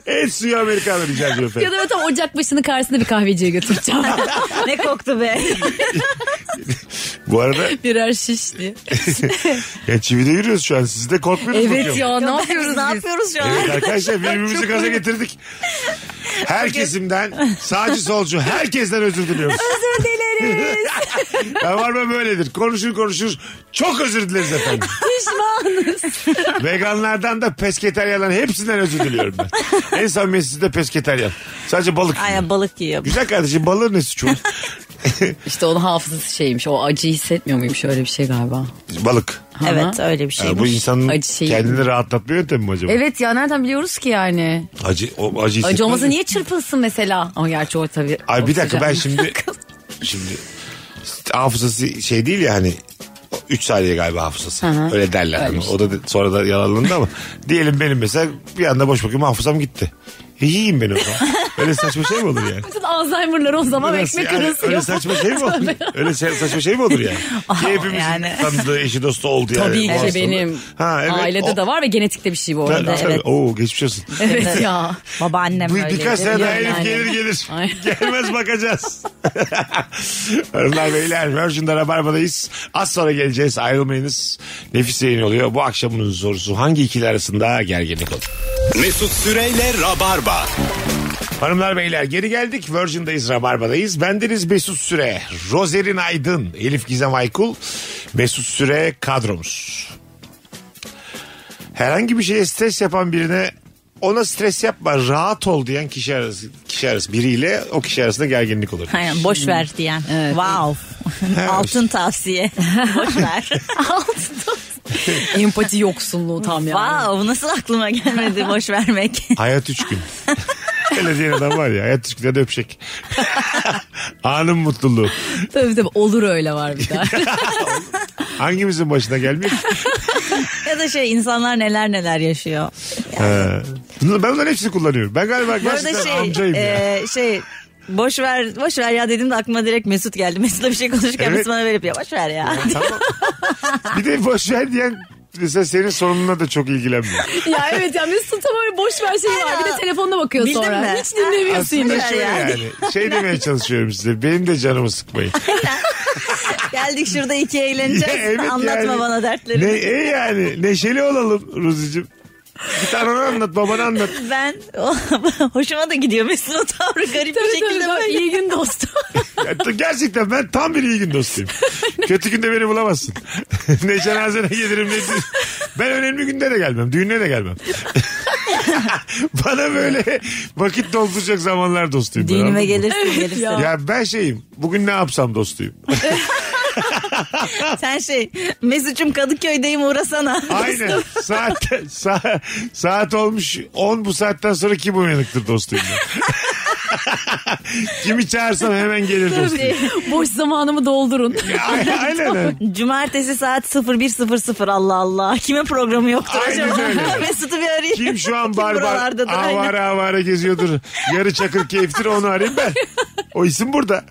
[SPEAKER 3] et suyu Amerikano rica ediyorum
[SPEAKER 5] Ya
[SPEAKER 3] efendim.
[SPEAKER 5] da tam ocak başını karşısında bir
[SPEAKER 3] [laughs]
[SPEAKER 5] kahveciye götüreceğim.
[SPEAKER 4] ne koktu be.
[SPEAKER 3] Bu arada
[SPEAKER 5] Birer şiş diye.
[SPEAKER 3] ya çivide yürüyoruz şu an. Siz de korkmuyoruz
[SPEAKER 5] Evet
[SPEAKER 3] bakıyorum.
[SPEAKER 5] ya ne
[SPEAKER 4] Biz
[SPEAKER 5] yapıyoruz
[SPEAKER 4] ne
[SPEAKER 5] biz?
[SPEAKER 4] yapıyoruz şu an?
[SPEAKER 3] Evet arkadaşlar birbirimizi gaza getirdik. Her kesimden sağcı solcu herkesten özür diliyoruz.
[SPEAKER 4] Özür dileriz.
[SPEAKER 3] Rabarba böyledir. Konuşur konuşur. Çok özür dileriz efendim.
[SPEAKER 5] [laughs] Pişmanız.
[SPEAKER 3] Veganlardan da pesketeryanların hepsinden özür diliyorum ben. En samimiyetsizde de pesketeryan. Sadece balık. yiyor.
[SPEAKER 4] Aynen balık yiyor.
[SPEAKER 3] Güzel kardeşim balığın ne suçu? var?
[SPEAKER 5] İşte onun hafızası şeymiş. O acıyı hissetmiyor muymuş öyle bir şey galiba.
[SPEAKER 3] balık.
[SPEAKER 4] Evet öyle bir
[SPEAKER 3] Ha, E, bu
[SPEAKER 4] şeymiş.
[SPEAKER 3] insanın
[SPEAKER 5] Acı şey.
[SPEAKER 3] kendini rahatlatma yöntemi mi acaba?
[SPEAKER 5] Evet ya nereden biliyoruz ki yani?
[SPEAKER 3] Acı, o, acı hissetmez
[SPEAKER 5] Acı olmasa
[SPEAKER 3] mi?
[SPEAKER 5] niye çırpılsın mesela? Ama gerçi o tabii.
[SPEAKER 3] Ay bir dakika ben
[SPEAKER 5] oksijen-
[SPEAKER 3] şimdi şimdi hafızası şey değil ya hani 3 saniye galiba hafızası.
[SPEAKER 5] Hı hı.
[SPEAKER 3] Öyle derler.
[SPEAKER 5] Öyle
[SPEAKER 3] Hani
[SPEAKER 5] bir şey.
[SPEAKER 3] O da de- sonra da yalanlandı
[SPEAKER 5] [laughs]
[SPEAKER 3] ama diyelim benim mesela bir anda boş bakayım hafızam gitti. E, yiyeyim beni o zaman. Öyle saçma şey mi olur
[SPEAKER 5] [laughs]
[SPEAKER 3] yani?
[SPEAKER 5] [laughs] Bütün Alzheimer'lar o zaman
[SPEAKER 3] Nasıl
[SPEAKER 5] ekmek
[SPEAKER 3] yani?
[SPEAKER 5] arası
[SPEAKER 3] Öyle
[SPEAKER 5] yok.
[SPEAKER 3] saçma şey mi olur? Öyle şey- saçma şey mi olur yani? Ki Hepimizin
[SPEAKER 4] yani.
[SPEAKER 3] tanıdığı eşi dostu oldu yani.
[SPEAKER 5] [laughs] Tabii
[SPEAKER 3] Bu
[SPEAKER 5] ki
[SPEAKER 3] hastalığı.
[SPEAKER 5] benim.
[SPEAKER 3] Ha, evet.
[SPEAKER 5] Ailede
[SPEAKER 3] O-
[SPEAKER 5] de var ve genetikte bir şey bu
[SPEAKER 3] Tabii,
[SPEAKER 5] arada.
[SPEAKER 3] tabii.
[SPEAKER 5] Evet.
[SPEAKER 3] Oo geçmiş olsun.
[SPEAKER 5] Evet ya.
[SPEAKER 4] Babaannem
[SPEAKER 3] Bu
[SPEAKER 4] öyle.
[SPEAKER 3] birkaç
[SPEAKER 4] dedi.
[SPEAKER 3] sene daha
[SPEAKER 5] Yani.
[SPEAKER 3] herif gelir gelir.
[SPEAKER 5] Ay.
[SPEAKER 3] Gelmez bakacağız. [laughs] Hanımlar beyler Virgin'de Rabarba'dayız. Az sonra geleceğiz ayrılmayınız. Nefis yayın oluyor. Bu akşamın sorusu hangi ikili arasında gerginlik olur?
[SPEAKER 2] Mesut Süreyle Rabarba.
[SPEAKER 3] Hanımlar beyler geri geldik. Virgin'dayız Rabarba'dayız. Bendeniz Mesut Süre, Rozerin Aydın, Elif Gizem Aykul, Mesut Süre kadromuz. Herhangi bir şeye stres yapan birine ona stres yapma rahat ol diyen kişi arası, kişi arası biriyle o kişi arasında gerginlik olur.
[SPEAKER 4] Aynen boş ver diyen. Wow. Altın tavsiye.
[SPEAKER 3] [laughs]
[SPEAKER 4] boş ver.
[SPEAKER 5] Empati yoksunluğu tam yani.
[SPEAKER 4] wow nasıl aklıma gelmedi
[SPEAKER 3] [laughs]
[SPEAKER 4] boş vermek.
[SPEAKER 3] Hayat üç
[SPEAKER 4] [laughs]
[SPEAKER 3] gün. Öyle diyen adam var ya hayat üç günde de öpecek. [laughs] Anın mutluluğu.
[SPEAKER 5] Tabii tabii olur öyle
[SPEAKER 3] [laughs]
[SPEAKER 5] var bir daha.
[SPEAKER 3] Hangimizin başına
[SPEAKER 4] [laughs]
[SPEAKER 3] gelmiyor ki?
[SPEAKER 4] ya da şey insanlar neler neler yaşıyor.
[SPEAKER 3] Ee, bunlar- ben bunların hepsini kullanıyorum. Ben galiba
[SPEAKER 4] Bu arada
[SPEAKER 3] gerçekten
[SPEAKER 4] şey,
[SPEAKER 3] amcayım ya.
[SPEAKER 4] e, şey boş ver boş ver ya dedim de aklıma direkt Mesut geldi. Mesut'la bir şey konuşurken
[SPEAKER 3] Evet.
[SPEAKER 4] Mesut bana böyle yapıyor. Boş
[SPEAKER 3] [laughs]
[SPEAKER 4] ver ya.
[SPEAKER 3] Tamam. bir de boş ver diyen mesela senin sorununa da çok ilgilenmiyor.
[SPEAKER 5] ya evet ya Mesut'un tam öyle boş ver şeyi var. Bir de telefonuna bakıyor
[SPEAKER 4] Bildin
[SPEAKER 5] sonra.
[SPEAKER 4] mi?
[SPEAKER 5] Hiç dinlemiyorsun
[SPEAKER 4] Aslında
[SPEAKER 5] yine.
[SPEAKER 4] Ver
[SPEAKER 3] Şöyle
[SPEAKER 4] yani.
[SPEAKER 3] yani. Şey demeye çalışıyorum size. Benim de canımı
[SPEAKER 4] [laughs]
[SPEAKER 3] sıkmayın.
[SPEAKER 4] Geldik şurada iki
[SPEAKER 3] Ya
[SPEAKER 4] eğleneceğiz.
[SPEAKER 3] evet
[SPEAKER 4] Anlatma
[SPEAKER 3] yani.
[SPEAKER 4] bana dertlerini.
[SPEAKER 3] Ne, e yani neşeli olalım Ruzi'cim. Bir tane ona anlat babana anlat.
[SPEAKER 4] Ben [laughs] hoşuma da gidiyor Mesut'un tavrı garip bir
[SPEAKER 5] Tabii
[SPEAKER 4] şekilde
[SPEAKER 5] tabii, tabii.
[SPEAKER 4] böyle.
[SPEAKER 5] İyi gün [laughs] dostum.
[SPEAKER 3] Ya, Gerçekten ben tam bir iyi gün dostuyum. Kötü günde beni bulamazsın. [laughs] ne cenazene gelirim ne düğün. Ben önemli günde de gelmem. Düğüne de
[SPEAKER 4] [laughs]
[SPEAKER 3] gelmem. [laughs] Bana böyle vakit dolduracak zamanlar dostuyum. ben, anladın
[SPEAKER 4] Düğünüme
[SPEAKER 3] mı?
[SPEAKER 4] gelirsin gelirsin.
[SPEAKER 5] ya.
[SPEAKER 3] Ya ben şeyim. Bugün ne yapsam dostuyum.
[SPEAKER 4] Sen şey Mesut'cum Kadıköy'deyim uğrasana.
[SPEAKER 3] Aynen. Saat, sa- saat olmuş 10 bu saatten sonra kim uyanıktır dostuyum. ben. Kimi çağırsam hemen gelir dostum.
[SPEAKER 5] Boş zamanımı doldurun.
[SPEAKER 3] Aynen aynen.
[SPEAKER 4] [laughs] Cumartesi saat 01.00 Allah Allah. Kime programı yoktur
[SPEAKER 3] Aynen
[SPEAKER 4] acaba?
[SPEAKER 3] öyle.
[SPEAKER 4] [laughs] Mesut'u bir arayayım.
[SPEAKER 3] Kim şu an
[SPEAKER 4] Kim
[SPEAKER 3] barbar
[SPEAKER 4] buralardadır? Aynen.
[SPEAKER 3] avara avara geziyordur. Yarı çakır keyiftir onu arayayım ben. O isim burada.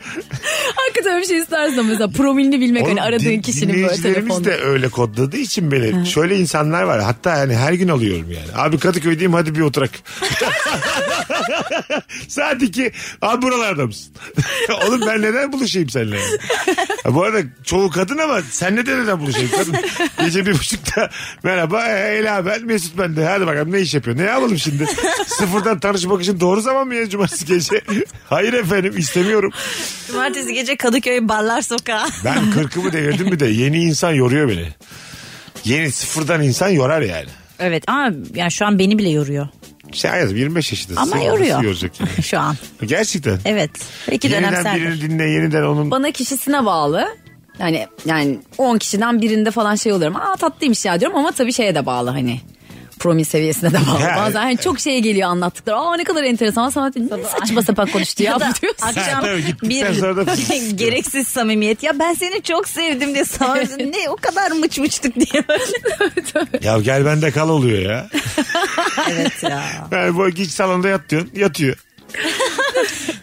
[SPEAKER 5] Hakikaten öyle bir şey istersen mesela promilini bilmek
[SPEAKER 3] Oğlum,
[SPEAKER 5] hani aradığın
[SPEAKER 3] din-
[SPEAKER 5] kişinin böyle
[SPEAKER 3] dinleyicilerimiz
[SPEAKER 5] telefonda.
[SPEAKER 3] de öyle kodladığı için beni şöyle insanlar var. Hatta yani her gün alıyorum yani. Abi Kadıköy'deyim hadi bir oturak. [laughs] Saat 2. Abi buralarda mısın? [laughs] Oğlum ben neden buluşayım seninle? yani? Ha, bu arada çoğu kadın ama senle de neden buluşayım
[SPEAKER 5] [laughs]
[SPEAKER 3] kadın? Gece bir buçukta merhaba e, Ela ben Mesut ben de. Hadi bakalım ne iş yapıyor? Ne yapalım
[SPEAKER 5] [laughs]
[SPEAKER 3] şimdi? Sıfırdan tanışmak için doğru zaman mı ya cumartesi gece? [laughs] Hayır efendim istemiyorum.
[SPEAKER 4] Cumartesi gece Kadıköy Barlar Sokağı. [laughs]
[SPEAKER 3] Ben kırkımı devirdim bir de yeni insan yoruyor beni. Yeni sıfırdan insan yorar yani.
[SPEAKER 4] Evet ama yani şu an beni bile yoruyor.
[SPEAKER 3] Şey hayatım 25 yaşındasın.
[SPEAKER 4] Ama
[SPEAKER 3] Seni nasıl
[SPEAKER 4] yoruyor.
[SPEAKER 3] yoracak yani?
[SPEAKER 4] şu an.
[SPEAKER 3] Gerçekten.
[SPEAKER 4] Evet. Belki
[SPEAKER 3] yeniden
[SPEAKER 4] dönemsel.
[SPEAKER 3] birini dinle yeniden onun.
[SPEAKER 5] Bana kişisine bağlı. Yani yani 10 kişiden birinde falan şey oluyorum. Aa tatlıymış ya diyorum ama tabii şeye de bağlı hani. Promil seviyesine de
[SPEAKER 3] [laughs]
[SPEAKER 5] bağlı.
[SPEAKER 3] Ha,
[SPEAKER 5] Bazen hani çok şey geliyor anlattıkları. Aa ne kadar enteresan. Sana ne saçma sapan konuştu ya.
[SPEAKER 3] [laughs]
[SPEAKER 4] Ya da
[SPEAKER 5] bu [laughs] diyorsun.
[SPEAKER 4] akşam
[SPEAKER 3] tabii, gittikten
[SPEAKER 4] bir
[SPEAKER 3] sonra
[SPEAKER 4] [laughs]
[SPEAKER 3] da- [laughs]
[SPEAKER 4] gereksiz samimiyet. Ya ben seni çok sevdim
[SPEAKER 3] [laughs]
[SPEAKER 4] diye sana ne o kadar mıç mıçtık diye böyle.
[SPEAKER 3] Ya gel bende kal oluyor ya.
[SPEAKER 4] evet [laughs] ya.
[SPEAKER 3] Yani bu hiç salonda yat diyorsun, yatıyor.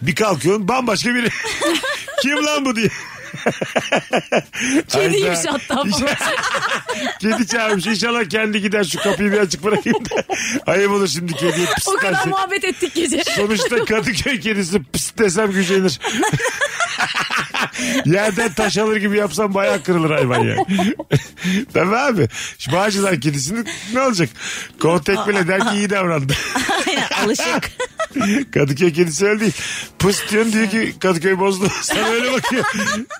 [SPEAKER 3] bir kalkıyorsun bambaşka biri. [laughs] Kim lan bu diye.
[SPEAKER 5] Kediymiş
[SPEAKER 3] Hayda. [laughs]
[SPEAKER 5] hatta falan.
[SPEAKER 3] Kedi çağırmış. İnşallah kendi gider şu kapıyı bir açık bırakayım da. Ayıp olur şimdi kediye pis
[SPEAKER 5] o kadar
[SPEAKER 3] dersin.
[SPEAKER 5] muhabbet ettik gece.
[SPEAKER 3] Sonuçta Kadıköy kedisi pıs desem gücenir. Yerden taş alır gibi yapsam bayağı kırılır hayvan ya. Tabii abi. Şu Bağcılar kedisini ne olacak? Kol tekmele der ki iyi davrandı.
[SPEAKER 4] Aynen, alışık.
[SPEAKER 3] Kadıköy kedisi öyle değil. Pıs diyorsun diyor ki Kadıköy bozdu. [laughs] Sana öyle bakıyor.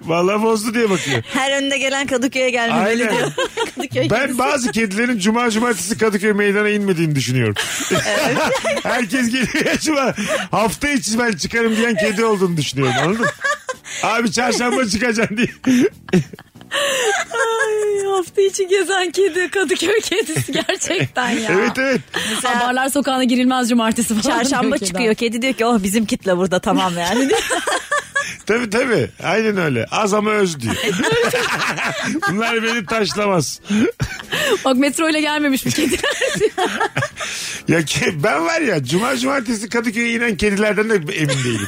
[SPEAKER 3] Vallahi bozdu diye bakıyor.
[SPEAKER 4] Her önde gelen Kadıköy'e gelmemeli
[SPEAKER 3] Aynen.
[SPEAKER 4] diyor.
[SPEAKER 3] [laughs]
[SPEAKER 4] Kadıköy [laughs]
[SPEAKER 3] Ben bazı kedilerin cuma cumartesi Kadıköy meydana inmediğini düşünüyorum. [laughs] Herkes geliyor ya cuma. Hafta içi ben çıkarım diyen kedi olduğunu düşünüyorum anladın mı? Abi çarşamba çıkacaksın diye.
[SPEAKER 5] [laughs] Hafta içi gezen kedi Kadıköy kedisi gerçekten ya.
[SPEAKER 3] Evet evet.
[SPEAKER 5] Mesela- Aa, Barlar sokağına girilmez cumartesi falan.
[SPEAKER 4] Çarşamba
[SPEAKER 5] diyor kedi.
[SPEAKER 4] çıkıyor. Kedi diyor ki oh bizim kitle burada tamam
[SPEAKER 3] [laughs]
[SPEAKER 4] yani.
[SPEAKER 3] Tabii tabii. Aynen öyle. Az ama öz diyor. [laughs] Bunlar beni taşlamaz.
[SPEAKER 5] Bak metro ile gelmemiş
[SPEAKER 3] [laughs]
[SPEAKER 5] bu kedi.
[SPEAKER 3] Ya ke- ben var ya cuma cumartesi Kadıköy'e inen kedilerden de emin değilim.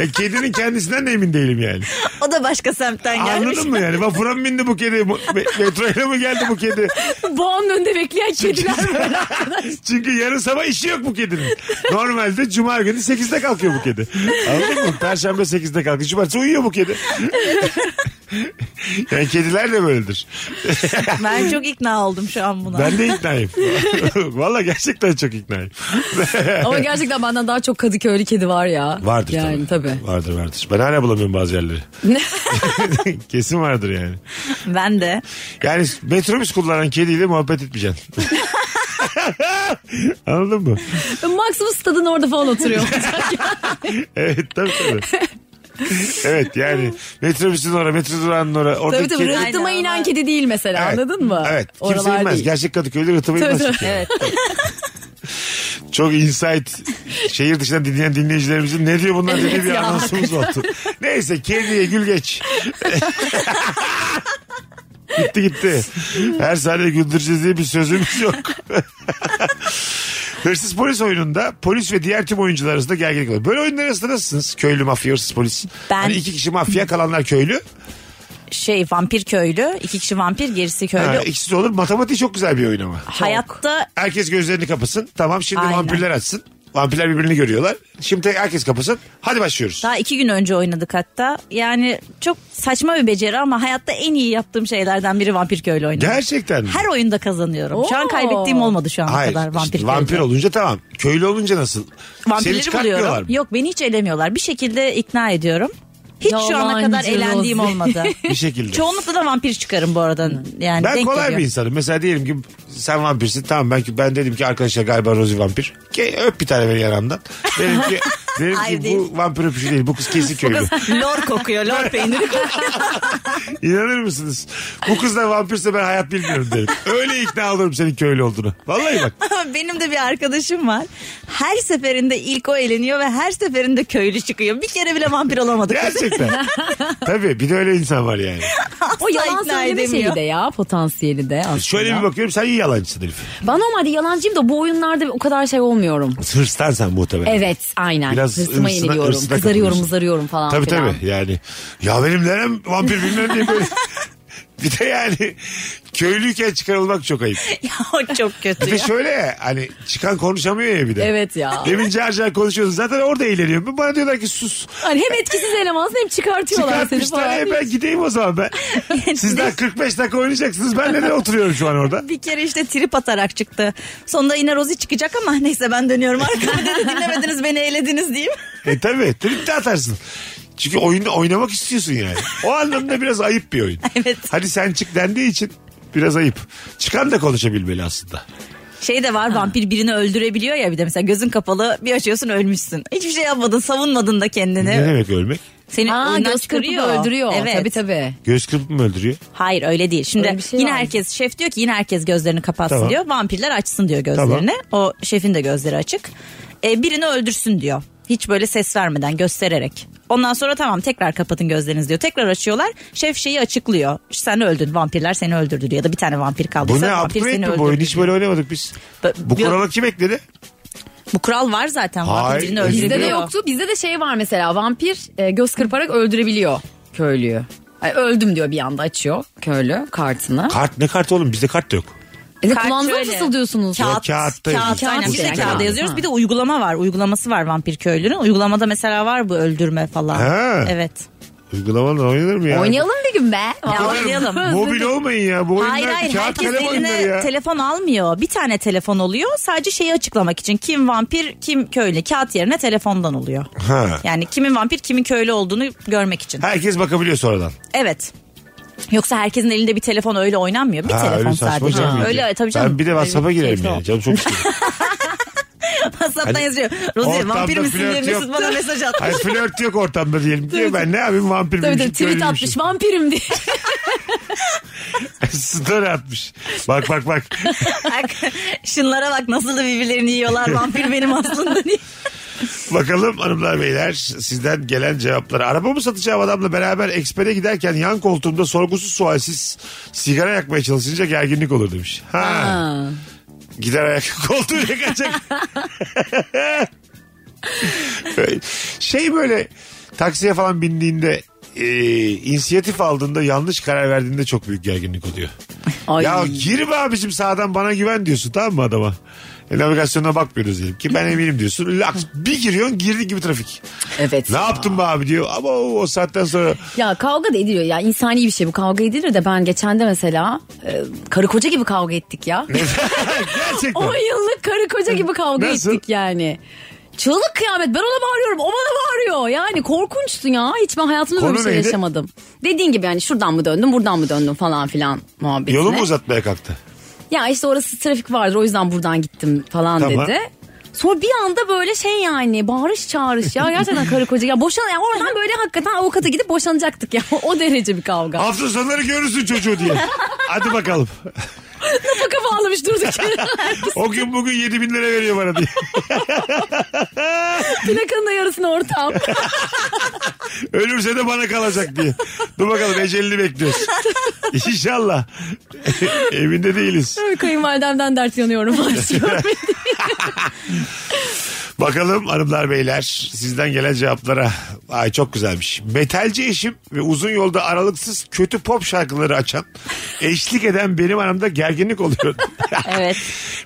[SPEAKER 3] Ya kedinin kendisinden de emin değilim yani.
[SPEAKER 4] o da başka semtten gelmiş.
[SPEAKER 3] Anladın mı yani? Vapura mı bindi bu kedi? Bu- me- Metroyla mı geldi bu kedi?
[SPEAKER 5] Boğanın önünde bekleyen
[SPEAKER 3] Şey
[SPEAKER 5] kediler.
[SPEAKER 3] Çünkü yarın sabah işi yok bu kedinin. Normalde cuma günü 8'de kalkıyor bu kedi. Anladın mı? Perşembe 8'de kalkıyor. Cumartesi uyuyor bu kedi. yani kediler de böyledir.
[SPEAKER 4] Ben çok ikna oldum şu an buna.
[SPEAKER 3] Ben de
[SPEAKER 5] [laughs]
[SPEAKER 3] iknayım. Valla gerçekten çok iknayım.
[SPEAKER 5] Ama gerçekten benden daha çok Kadıköylü kedi var ya.
[SPEAKER 3] Vardır
[SPEAKER 5] yani,
[SPEAKER 3] tabii.
[SPEAKER 5] tabii.
[SPEAKER 3] Vardır vardır. Ben hala bulamıyorum bazı yerleri. [laughs] Kesin vardır yani.
[SPEAKER 4] Ben de.
[SPEAKER 3] Yani metrobüs kullanan kediyle muhabbet
[SPEAKER 5] [laughs]
[SPEAKER 3] etmeyeceksin. Anladın mı?
[SPEAKER 5] Maksimum stadın orada falan oturuyor.
[SPEAKER 3] Evet tabii tabii.
[SPEAKER 5] [laughs]
[SPEAKER 3] Evet yani metrobüsün oraya, metro durağının oraya.
[SPEAKER 5] tabii
[SPEAKER 3] oradaki
[SPEAKER 5] tabii
[SPEAKER 3] kedi-
[SPEAKER 5] rıhtıma
[SPEAKER 4] Aynen,
[SPEAKER 5] inen
[SPEAKER 4] onlar-
[SPEAKER 5] kedi değil mesela
[SPEAKER 3] Evet.
[SPEAKER 5] anladın mı?
[SPEAKER 3] Evet. Kimse inmez. Gerçek Kadıköy'de rıtıma
[SPEAKER 5] Tabii,
[SPEAKER 3] inmez.
[SPEAKER 5] tabii.
[SPEAKER 3] çünkü. Çok insight şehir dışından dinleyen dinleyicilerimizin ne diyor bunlar dediği bir anonsumuz oldu. Neyse kediye gül geç. [laughs] gitti gitti. Her saniye güldüreceğiz diye bir sözümüz yok. [laughs] Hırsız polis oyununda polis ve diğer tüm oyuncular arasında gerginlik olur. Böyle oyunlar arasında nasılsınız? Köylü mafya, hırsız polis.
[SPEAKER 4] Ben-
[SPEAKER 3] Hani iki kişi mafya kalanlar köylü.
[SPEAKER 4] Şey vampir köylü. iki kişi vampir gerisi köylü.
[SPEAKER 3] Ha, ikisi de olur. Matematiği çok güzel bir oyun ama.
[SPEAKER 4] Hayatta
[SPEAKER 3] Herkes gözlerini kapasın. Tamam şimdi
[SPEAKER 4] Aynen.
[SPEAKER 3] vampirler açsın. Vampirler birbirini görüyorlar. Şimdi herkes kapasın. Hadi başlıyoruz.
[SPEAKER 4] daha iki gün önce oynadık hatta. Yani çok saçma bir beceri ama hayatta en iyi yaptığım şeylerden biri vampir köylü oynamak.
[SPEAKER 3] Gerçekten mi?
[SPEAKER 4] Her oyunda kazanıyorum. Şu an
[SPEAKER 5] Oo.
[SPEAKER 4] kaybettiğim olmadı şu ana
[SPEAKER 3] Hayır.
[SPEAKER 4] kadar vampir
[SPEAKER 3] işte
[SPEAKER 4] köylü.
[SPEAKER 3] vampir olunca tamam. Köylü olunca nasıl? Seni
[SPEAKER 4] Vampirleri
[SPEAKER 3] çıkartmıyorlar
[SPEAKER 4] buluyorum.
[SPEAKER 3] mı?
[SPEAKER 4] Yok beni hiç elemiyorlar. Bir şekilde ikna ediyorum. Hiç şu ana
[SPEAKER 5] Yalancı
[SPEAKER 4] kadar elendiğim
[SPEAKER 5] Rosie.
[SPEAKER 4] olmadı.
[SPEAKER 3] Bir şekilde.
[SPEAKER 4] Çoğunlukla da vampir çıkarım bu arada. Yani
[SPEAKER 3] ben
[SPEAKER 4] denk
[SPEAKER 3] kolay
[SPEAKER 4] geliyor.
[SPEAKER 3] bir insanım. Mesela diyelim ki sen
[SPEAKER 4] [laughs]
[SPEAKER 3] vampirsin. Tamam ben, ben dedim ki arkadaşlar galiba Rosie vampir. Ke, öp bir tane beni yanamdan. Dedim ki Derim
[SPEAKER 4] Hayır
[SPEAKER 3] ki
[SPEAKER 4] değil.
[SPEAKER 3] bu vampir öpüşü değil. Bu kız
[SPEAKER 4] [laughs]
[SPEAKER 3] kesin köylü.
[SPEAKER 4] lor kokuyor lor peyniri
[SPEAKER 3] İnanır mısınız? Bu kız da vampirse ben hayat bilmiyorum derim. Öyle ikna olurum senin köylü olduğunu. Vallahi bak.
[SPEAKER 4] [laughs] Benim de bir arkadaşım var. Her seferinde ilk o eleniyor ve her seferinde köylü çıkıyor. Bir kere bile vampir olamadık.
[SPEAKER 5] [laughs]
[SPEAKER 3] Gerçekten. Tabii bir de öyle insan var yani.
[SPEAKER 5] O yalan
[SPEAKER 4] ikna
[SPEAKER 5] söyleme
[SPEAKER 4] edemiyor.
[SPEAKER 5] şeyi de ya potansiyeli de aslında.
[SPEAKER 3] Şöyle bir bakıyorum sen iyi yalancısın herif.
[SPEAKER 5] Ben normalde yalancıyım da bu oyunlarda o kadar şey olmuyorum.
[SPEAKER 3] Hırstan sen muhtemelen.
[SPEAKER 5] Evet aynen.
[SPEAKER 3] Biraz
[SPEAKER 5] Hırsıma
[SPEAKER 3] hırsına-
[SPEAKER 5] yeniliyorum.
[SPEAKER 3] hırsına
[SPEAKER 5] Kızarıyorum
[SPEAKER 3] kapılıyorsun.
[SPEAKER 5] mızarıyorum falan
[SPEAKER 3] Tabii
[SPEAKER 5] filan.
[SPEAKER 3] tabii yani. Ya benim nerem vampir bilmem diye
[SPEAKER 5] [laughs]
[SPEAKER 3] böyle. bir de yani köylüyken çıkarılmak çok ayıp.
[SPEAKER 4] ya [laughs] o çok kötü
[SPEAKER 3] Bir de
[SPEAKER 4] ya.
[SPEAKER 3] şöyle ya, hani çıkan konuşamıyor ya bir de.
[SPEAKER 5] Evet ya.
[SPEAKER 3] Demin car car konuşuyoruz. Zaten orada eğleniyorum. Bana diyorlar ki sus.
[SPEAKER 5] Hani hem etkisiz elemansın hem çıkartıyorlar seni
[SPEAKER 3] Çıkartmışlar.
[SPEAKER 5] falan.
[SPEAKER 3] E ben gideyim o zaman
[SPEAKER 5] [laughs]
[SPEAKER 3] ben. Siz daha 45 dakika oynayacaksınız. Ben neden oturuyorum şu an
[SPEAKER 5] [laughs]
[SPEAKER 3] orada?
[SPEAKER 4] Bir kere işte trip atarak çıktı. Sonunda yine Rozi çıkacak ama [laughs] neyse ben dönüyorum arkamı dedi dinlemediniz beni eğlediniz diyeyim.
[SPEAKER 3] E tabii. Trip de atarsın. Çünkü oyunda oynamak istiyorsun yani. O anlamda biraz ayıp bir oyun.
[SPEAKER 4] [laughs] Evet.
[SPEAKER 3] Hani sen çık dendiği için biraz ayıp. Çıkan da konuşabilmeli aslında.
[SPEAKER 4] Şey de var vampir birini öldürebiliyor ya bir de mesela gözün kapalı bir açıyorsun ölmüşsün. Hiçbir şey yapmadın savunmadın da kendini.
[SPEAKER 3] Ne demek ölmek?
[SPEAKER 4] Seni
[SPEAKER 5] Aa,
[SPEAKER 4] oyundan
[SPEAKER 5] göz kırpıp
[SPEAKER 4] çıkarıyor.
[SPEAKER 5] öldürüyor.
[SPEAKER 4] Evet.
[SPEAKER 5] Tabii tabii.
[SPEAKER 3] Göz kırpıp mı öldürüyor?
[SPEAKER 4] Hayır öyle değil. Şimdi
[SPEAKER 5] Öyle bir şey
[SPEAKER 4] yine
[SPEAKER 5] var.
[SPEAKER 4] herkes şef diyor ki yine herkes gözlerini kapatsın
[SPEAKER 3] Tamam.
[SPEAKER 4] diyor. Vampirler açsın diyor gözlerini. O şefin de gözleri açık. E, birini öldürsün diyor. Hiç böyle ses vermeden göstererek. Ondan sonra tamam tekrar kapatın gözlerinizi diyor. Tekrar açıyorlar. Şef şeyi açıklıyor. Sen öldün vampirler seni öldürdü diyor. Ya da bir tane vampir
[SPEAKER 3] Bu
[SPEAKER 4] kaldıysa
[SPEAKER 3] ne
[SPEAKER 4] vampir
[SPEAKER 3] upgrade
[SPEAKER 4] seni
[SPEAKER 3] mi
[SPEAKER 4] öldürdü.
[SPEAKER 3] bu oyun? Hiç böyle oynamadık biz.
[SPEAKER 4] Bu-
[SPEAKER 3] Bu kurala kim ekledi?
[SPEAKER 4] Bu kural var zaten.
[SPEAKER 3] Hayır,
[SPEAKER 4] Vampir birini
[SPEAKER 3] bizde
[SPEAKER 4] öldürüyor.
[SPEAKER 5] Bizde de yoktu. Bizde de şey var mesela vampir e, göz kırparak öldürebiliyor köylüyü. Ay, öldüm diyor bir anda açıyor köylü kartını.
[SPEAKER 3] Kart ne kartı oğlum? Bizde kart da yok.
[SPEAKER 5] E, de
[SPEAKER 4] Kart
[SPEAKER 5] kulağınıza mı
[SPEAKER 4] şöyle.
[SPEAKER 5] fısıldıyorsunuz?
[SPEAKER 3] Kağıt.
[SPEAKER 4] Kağıtta
[SPEAKER 3] kağıtta yazıyor.
[SPEAKER 4] kağıt, aynen.
[SPEAKER 5] Kağıt
[SPEAKER 4] Biz de
[SPEAKER 5] üzerine
[SPEAKER 4] kağıda
[SPEAKER 5] kağıt.
[SPEAKER 4] yazıyoruz.
[SPEAKER 5] Ha.
[SPEAKER 4] Bir de uygulama var. Uygulaması var vampir köylünün. Uygulamada mesela var bu öldürme falan.
[SPEAKER 3] Ha.
[SPEAKER 4] Evet.
[SPEAKER 3] Uygulamadan oynanır mı ya?
[SPEAKER 5] Oynayalım bir gün be.
[SPEAKER 4] Ya
[SPEAKER 5] Vallahi.
[SPEAKER 4] oynayalım.
[SPEAKER 3] [laughs] Mobil olmayın ya. Bu oyunlar
[SPEAKER 4] Hayır hayır
[SPEAKER 3] kağıt
[SPEAKER 4] herkes
[SPEAKER 3] kalem oyunları ya.
[SPEAKER 4] eline telefon almıyor. Bir tane telefon oluyor. Sadece şeyi açıklamak için kim vampir kim köylü. Kağıt yerine telefondan oluyor.
[SPEAKER 3] Ha.
[SPEAKER 4] Yani kimin vampir kimin köylü olduğunu görmek için.
[SPEAKER 3] Herkes bakabiliyor sonradan.
[SPEAKER 4] Evet. Yoksa herkesin elinde bir telefon öyle oynanmıyor. Bir
[SPEAKER 3] Ha,
[SPEAKER 4] telefon
[SPEAKER 3] öyle saçma
[SPEAKER 4] sadece.
[SPEAKER 3] canım iyice.
[SPEAKER 4] Öyle tabii canım.
[SPEAKER 3] Ben bir de WhatsApp'a girelim
[SPEAKER 5] keyfi
[SPEAKER 3] yani.
[SPEAKER 4] [laughs]
[SPEAKER 5] yok.
[SPEAKER 3] Canım çok istiyor.
[SPEAKER 4] WhatsApp'tan
[SPEAKER 3] Hani
[SPEAKER 4] yazıyor. Rozi
[SPEAKER 3] ortamda
[SPEAKER 4] vampir misin
[SPEAKER 3] flört
[SPEAKER 4] diye
[SPEAKER 3] yok.
[SPEAKER 4] Mesut bana
[SPEAKER 3] [laughs]
[SPEAKER 4] mesaj attı.
[SPEAKER 5] [laughs]
[SPEAKER 3] Hayır flört yok ortamda diyelim. Diyor ben ne yapayım vampir
[SPEAKER 5] Tabii tabii
[SPEAKER 3] miymişim,
[SPEAKER 5] tweet
[SPEAKER 3] köylüymüşüm.
[SPEAKER 5] atmış vampirim diye.
[SPEAKER 3] [laughs] Story atmış. Bak bak
[SPEAKER 5] [laughs]
[SPEAKER 3] bak.
[SPEAKER 4] Bak, Şunlara bak nasıl da birbirlerini yiyorlar. Vampir benim
[SPEAKER 3] [laughs]
[SPEAKER 4] aslında diye.
[SPEAKER 3] Bakalım hanımlar beyler sizden gelen cevapları. Arabamı satacağım adamla beraber ekspere giderken yan koltuğumda sorgusuz sualsiz sigara yakmaya çalışınca gerginlik olur demiş. Ha.
[SPEAKER 5] Ha.
[SPEAKER 3] Gider ayak [laughs] koltuğu
[SPEAKER 5] [laughs]
[SPEAKER 3] yakacak. şey böyle taksiye falan bindiğinde e, inisiyatif aldığında yanlış karar verdiğinde çok büyük gerginlik oluyor.
[SPEAKER 5] Ay.
[SPEAKER 3] Ya girme abicim sağdan bana güven diyorsun tamam mı adama? E, navigasyona bakmıyoruz diyelim ki ben eminim diyorsun. Laks, bir giriyorsun girdi gibi trafik.
[SPEAKER 5] Evet.
[SPEAKER 3] Ne
[SPEAKER 5] ya.
[SPEAKER 3] yaptın be abi diyor ama o, o saatten sonra
[SPEAKER 5] Ya kavga da ediliyor ya insani bir şey bu kavga edilir de ben geçen de mesela e, karı koca gibi kavga ettik ya.
[SPEAKER 3] gerçekten.
[SPEAKER 5] 10 yıllık karı koca gibi kavga
[SPEAKER 3] Nasıl?
[SPEAKER 5] ettik yani. Çığlık kıyamet ben ona bağırıyorum o bana bağırıyor yani korkunçtu ya hiç ben hayatımda böyle
[SPEAKER 3] Konu
[SPEAKER 5] bir şey
[SPEAKER 3] neydi?
[SPEAKER 5] yaşamadım. Dediğin gibi yani şuradan mı döndüm buradan mı döndüm falan filan muhabbetine.
[SPEAKER 3] Yolu mu uzatmaya kalktı?
[SPEAKER 5] Ya işte orası trafik vardır o yüzden buradan gittim falan
[SPEAKER 3] Tamam.
[SPEAKER 5] dedi. Sonra bir anda böyle şey yani bağırış çağırış ya gerçekten karı koca ya boşan ya oradan böyle hakikaten avukata gidip boşanacaktık ya [laughs] o derece bir kavga.
[SPEAKER 3] Hafta sonları görürsün çocuğu diye. Hadi bakalım.
[SPEAKER 5] Kafa bağlamış durduk
[SPEAKER 3] [laughs]
[SPEAKER 5] yere.
[SPEAKER 3] O gün bugün 7 bin lira veriyor bana diye.
[SPEAKER 5] Plakanın da yarısını ortam.
[SPEAKER 3] Ölürse de bana kalacak diye. Dur bakalım ecelini bekliyoruz. İnşallah. E, Evinde değiliz.
[SPEAKER 5] Kayınvalidemden
[SPEAKER 3] [laughs]
[SPEAKER 5] dert yanıyorum.
[SPEAKER 3] Bakalım hanımlar beyler sizden gelen cevaplara. Ay çok güzelmiş. Metalci eşim ve uzun yolda aralıksız kötü pop şarkıları açan eşlik eden benim aramda gerginlik oluyor.
[SPEAKER 4] [laughs] Evet.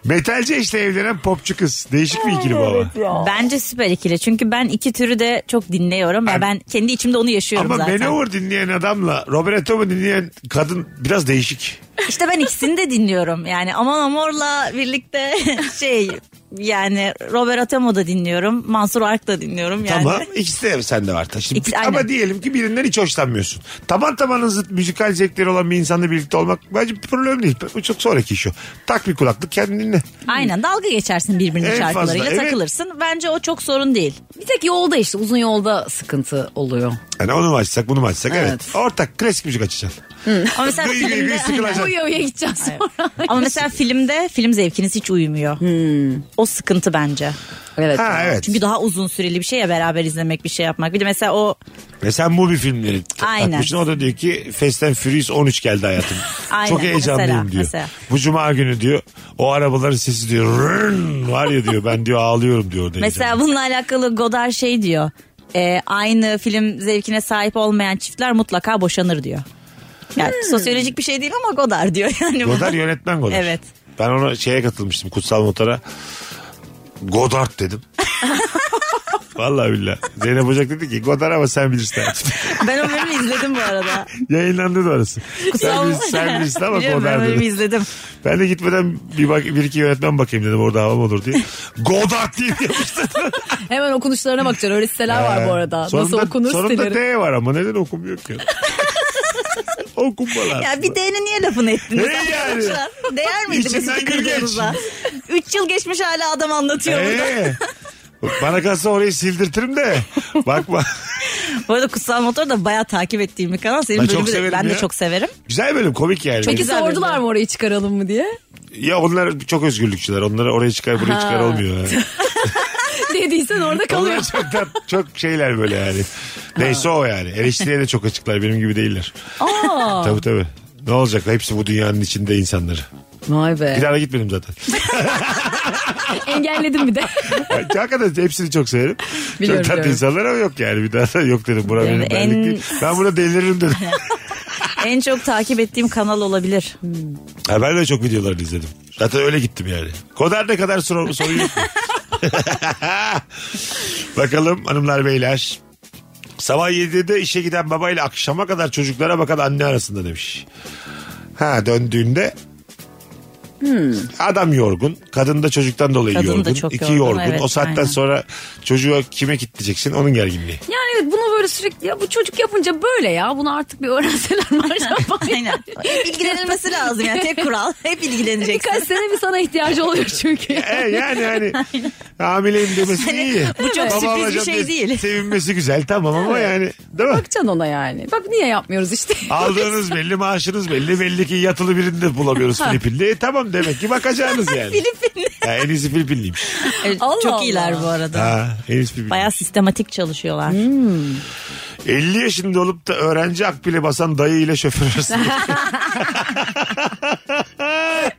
[SPEAKER 3] Metalci eşle evlenen popçu kız. Değişik bir ikili bu ama.
[SPEAKER 4] Bence süper ikili. Çünkü ben iki türü de çok dinliyorum ve ben kendi içimde onu yaşıyorum
[SPEAKER 3] Ama
[SPEAKER 4] zaten.
[SPEAKER 3] Manowar dinleyen adamla Roberto mu dinleyen kadın biraz değişik.
[SPEAKER 4] İşte ben ikisini de dinliyorum. Yani Aman Amor'la birlikte [laughs] şey Yani Robert Atemo da dinliyorum. Mansur Ark da dinliyorum yani.
[SPEAKER 3] Tamam. İkisi de sende var. Şimdi,
[SPEAKER 4] İkisi-
[SPEAKER 3] ama
[SPEAKER 4] aynen.
[SPEAKER 3] diyelim ki birinden hiç hoşlanmıyorsun. Taban tabanın zıt müzikal zevkleri olan bir insanla birlikte olmak bence bir problem değil. Bu çok sonraki iş o. Tak bir kulaklık kendini dinle.
[SPEAKER 4] Aynen dalga geçersin birbirinin
[SPEAKER 3] En fazla,
[SPEAKER 4] şarkılarıyla
[SPEAKER 3] evet.
[SPEAKER 4] takılırsın. Bence o çok sorun değil.
[SPEAKER 5] Bir tek yolda işte uzun yolda sıkıntı oluyor.
[SPEAKER 3] Yani onu mu açsak bunu mu açsak evet.
[SPEAKER 5] Evet.
[SPEAKER 3] Ortak klasik müzik açacaksın.
[SPEAKER 4] Ama mesela
[SPEAKER 3] Gıy gıy gıy
[SPEAKER 4] filmde...
[SPEAKER 3] sıkılacaksın.
[SPEAKER 5] Uya uya gideceğiz sonra.
[SPEAKER 4] Ama mesela filmde film zevkiniz hiç uymuyor.
[SPEAKER 3] Hmm.
[SPEAKER 4] O sıkıntı bence.
[SPEAKER 5] [laughs] Evet.
[SPEAKER 3] Ha evet.
[SPEAKER 4] Çünkü daha uzun süreli bir şey ya beraber izlemek bir şey yapmak. Bir de mesela o
[SPEAKER 3] Ve sen movie filmleri ta-
[SPEAKER 4] Aynen.
[SPEAKER 3] takmışsın. O da diyor ki Fast and Furious 13 geldi hayatım.
[SPEAKER 4] Aynen,
[SPEAKER 3] Çok heyecanlıyım
[SPEAKER 4] mesela,
[SPEAKER 3] diyor.
[SPEAKER 4] mesela.
[SPEAKER 3] Bu cuma günü diyor o arabaların sesi diyor "Rrrn" var ya diyor ben diyor ağlıyorum diyor. orada
[SPEAKER 4] mesela
[SPEAKER 3] heyecanla.
[SPEAKER 4] bununla alakalı Godard şey diyor. E, aynı film zevkine sahip olmayan çiftler mutlaka boşanır diyor. Yani sosyolojik bir şey değil ama Godard diyor yani. bu.
[SPEAKER 3] Hmm. Godard yönetmen Godard.
[SPEAKER 4] Evet.
[SPEAKER 3] Ben ona şeye katılmıştım Kutsal Motor'a. Godard dedim. Vallahi billahi. Zeynep Ocak dedi ki Godard ama sen bilirsin. artık."
[SPEAKER 4] [laughs] Ben o bölümü izledim bu arada.
[SPEAKER 3] Yayınlandı da orası. [laughs] sen, bilirsin, sen bilirsin ama
[SPEAKER 4] Biliyorum,
[SPEAKER 3] Godard
[SPEAKER 4] Ben
[SPEAKER 3] dedi.
[SPEAKER 4] bölümü
[SPEAKER 3] [laughs]
[SPEAKER 4] izledim.
[SPEAKER 3] Ben de gitmeden bir, bak, bir iki yönetmen bakayım dedim orada havam olur diye. Godard
[SPEAKER 5] [laughs]
[SPEAKER 3] diye yapmışlar.
[SPEAKER 5] Hemen okunuşlarına bakacaksın. Öyle siteler var bu arada. Nasıl
[SPEAKER 3] Ee, Sonunda-
[SPEAKER 5] okunur
[SPEAKER 3] Sonunda
[SPEAKER 5] siteleri.
[SPEAKER 3] D var ama neden okumuyor
[SPEAKER 5] [laughs]
[SPEAKER 3] ki? Okunmalar.
[SPEAKER 4] Ya bir D'ni niye lafını ettiniz?
[SPEAKER 3] Ne yani?
[SPEAKER 4] Arkadaşlar, Değer miydi
[SPEAKER 3] İçinden
[SPEAKER 4] Mesut
[SPEAKER 3] gül geç.
[SPEAKER 4] Kırgız'a? Üç yıl geçmiş hala adam anlatıyor burada.
[SPEAKER 3] Ee, bana kalsa orayı sildirtirim
[SPEAKER 5] [laughs]
[SPEAKER 3] de. Bakma.
[SPEAKER 4] Bu arada Kutsal Motor da bayağı takip ettiğim bir kanal. Senin
[SPEAKER 3] Ben
[SPEAKER 4] ben
[SPEAKER 3] çok
[SPEAKER 4] bölümü de,
[SPEAKER 3] severim
[SPEAKER 4] ben
[SPEAKER 3] ya.
[SPEAKER 4] de çok severim.
[SPEAKER 3] Güzel bölüm komik yani.
[SPEAKER 5] Peki
[SPEAKER 4] Güzel
[SPEAKER 5] sordular
[SPEAKER 4] bölüm.
[SPEAKER 5] mı orayı çıkaralım mı diye? [laughs]
[SPEAKER 3] Ya onlar çok özgürlükçüler. Onlara oraya çıkar buraya çıkar
[SPEAKER 5] Ha.
[SPEAKER 3] olmuyor. Yani.
[SPEAKER 5] Dediysen orada kalıyor.
[SPEAKER 3] Onlar çok, tat- çok şeyler böyle yani. Neyse o yani. Eleştiriye de çok açıklar. Benim gibi değiller.
[SPEAKER 5] Aa.
[SPEAKER 3] Tabii tabii. Ne olacak? Hepsi bu dünyanın içinde insanları.
[SPEAKER 5] Vay be.
[SPEAKER 3] Bir daha da gitmedim zaten.
[SPEAKER 5] [laughs]
[SPEAKER 3] [laughs]
[SPEAKER 5] Engelledim bir de.
[SPEAKER 3] Yani Hakikaten hepsini çok severim.
[SPEAKER 5] Biliyorum,
[SPEAKER 3] çok tatlı
[SPEAKER 5] biliyorum.
[SPEAKER 3] insanlar ama yok yani. Bir daha da yok dedim. Bura
[SPEAKER 4] Yani
[SPEAKER 3] benim benlik
[SPEAKER 4] en-
[SPEAKER 3] değil. Ben burada deliririm
[SPEAKER 4] [laughs]
[SPEAKER 3] dedim.
[SPEAKER 4] En çok takip ettiğim kanal olabilir.
[SPEAKER 3] ha, ben de çok videolarını izledim. Zaten öyle gittim yani. Kodar ne kadar soru, soru
[SPEAKER 4] [laughs]
[SPEAKER 3] yok. mu? Bakalım hanımlar beyler. Sabah 7'de işe giden babayla akşama kadar çocuklara bakan anne arasında demiş. Ha döndüğünde adam yorgun. Kadın da çocuktan dolayı
[SPEAKER 4] Hmm. Kadın da
[SPEAKER 3] yorgun.
[SPEAKER 4] çok
[SPEAKER 3] İki
[SPEAKER 4] yorgun,
[SPEAKER 3] yorgun.
[SPEAKER 4] evet,
[SPEAKER 3] o saatten
[SPEAKER 4] aynen.
[SPEAKER 3] sonra çocuğa kime kitleyeceksin onun gerginliği.
[SPEAKER 5] Yani evet bunu böyle sürekli ya bu çocuk yapınca böyle ya bunu artık bir öğrenseler
[SPEAKER 4] [laughs]
[SPEAKER 5] mi acaba?
[SPEAKER 4] Aynen. Hep ilgilenilmesi lazım yani tek kural. Hep ilgileneceksin.
[SPEAKER 5] Birkaç sene bir sana ihtiyacı oluyor
[SPEAKER 3] [laughs]
[SPEAKER 5] çünkü.
[SPEAKER 3] E yani hani
[SPEAKER 4] [laughs]
[SPEAKER 3] hamileyim demesi iyi.
[SPEAKER 4] Hani bu çok sürpriz bir
[SPEAKER 3] olacağım
[SPEAKER 4] şey
[SPEAKER 3] diye
[SPEAKER 4] değil. [laughs]
[SPEAKER 3] Sevinmesi güzel tamam ama yani değil mi?
[SPEAKER 5] Bakacaksın ona yani. Bak niye yapmıyoruz işte.
[SPEAKER 3] Aldığınız belli maaşınız belli belli ki yatılı birini de bulamıyoruz Filipinli. E, tamam demek ki
[SPEAKER 4] [laughs]
[SPEAKER 3] bakacaksınız yani. Filipinli. Ha, en iyisi Filipinliymiş.
[SPEAKER 4] Evet,
[SPEAKER 5] Allah
[SPEAKER 4] çok
[SPEAKER 5] Allah.
[SPEAKER 4] iyiler bu arada.
[SPEAKER 3] Ha, en iyisi Filipinli.
[SPEAKER 4] Bayağı sistematik çalışıyorlar.
[SPEAKER 3] 50 yaşında olup da öğrenci akbili basan dayı ile şoför
[SPEAKER 4] [laughs]
[SPEAKER 3] arasında. [laughs]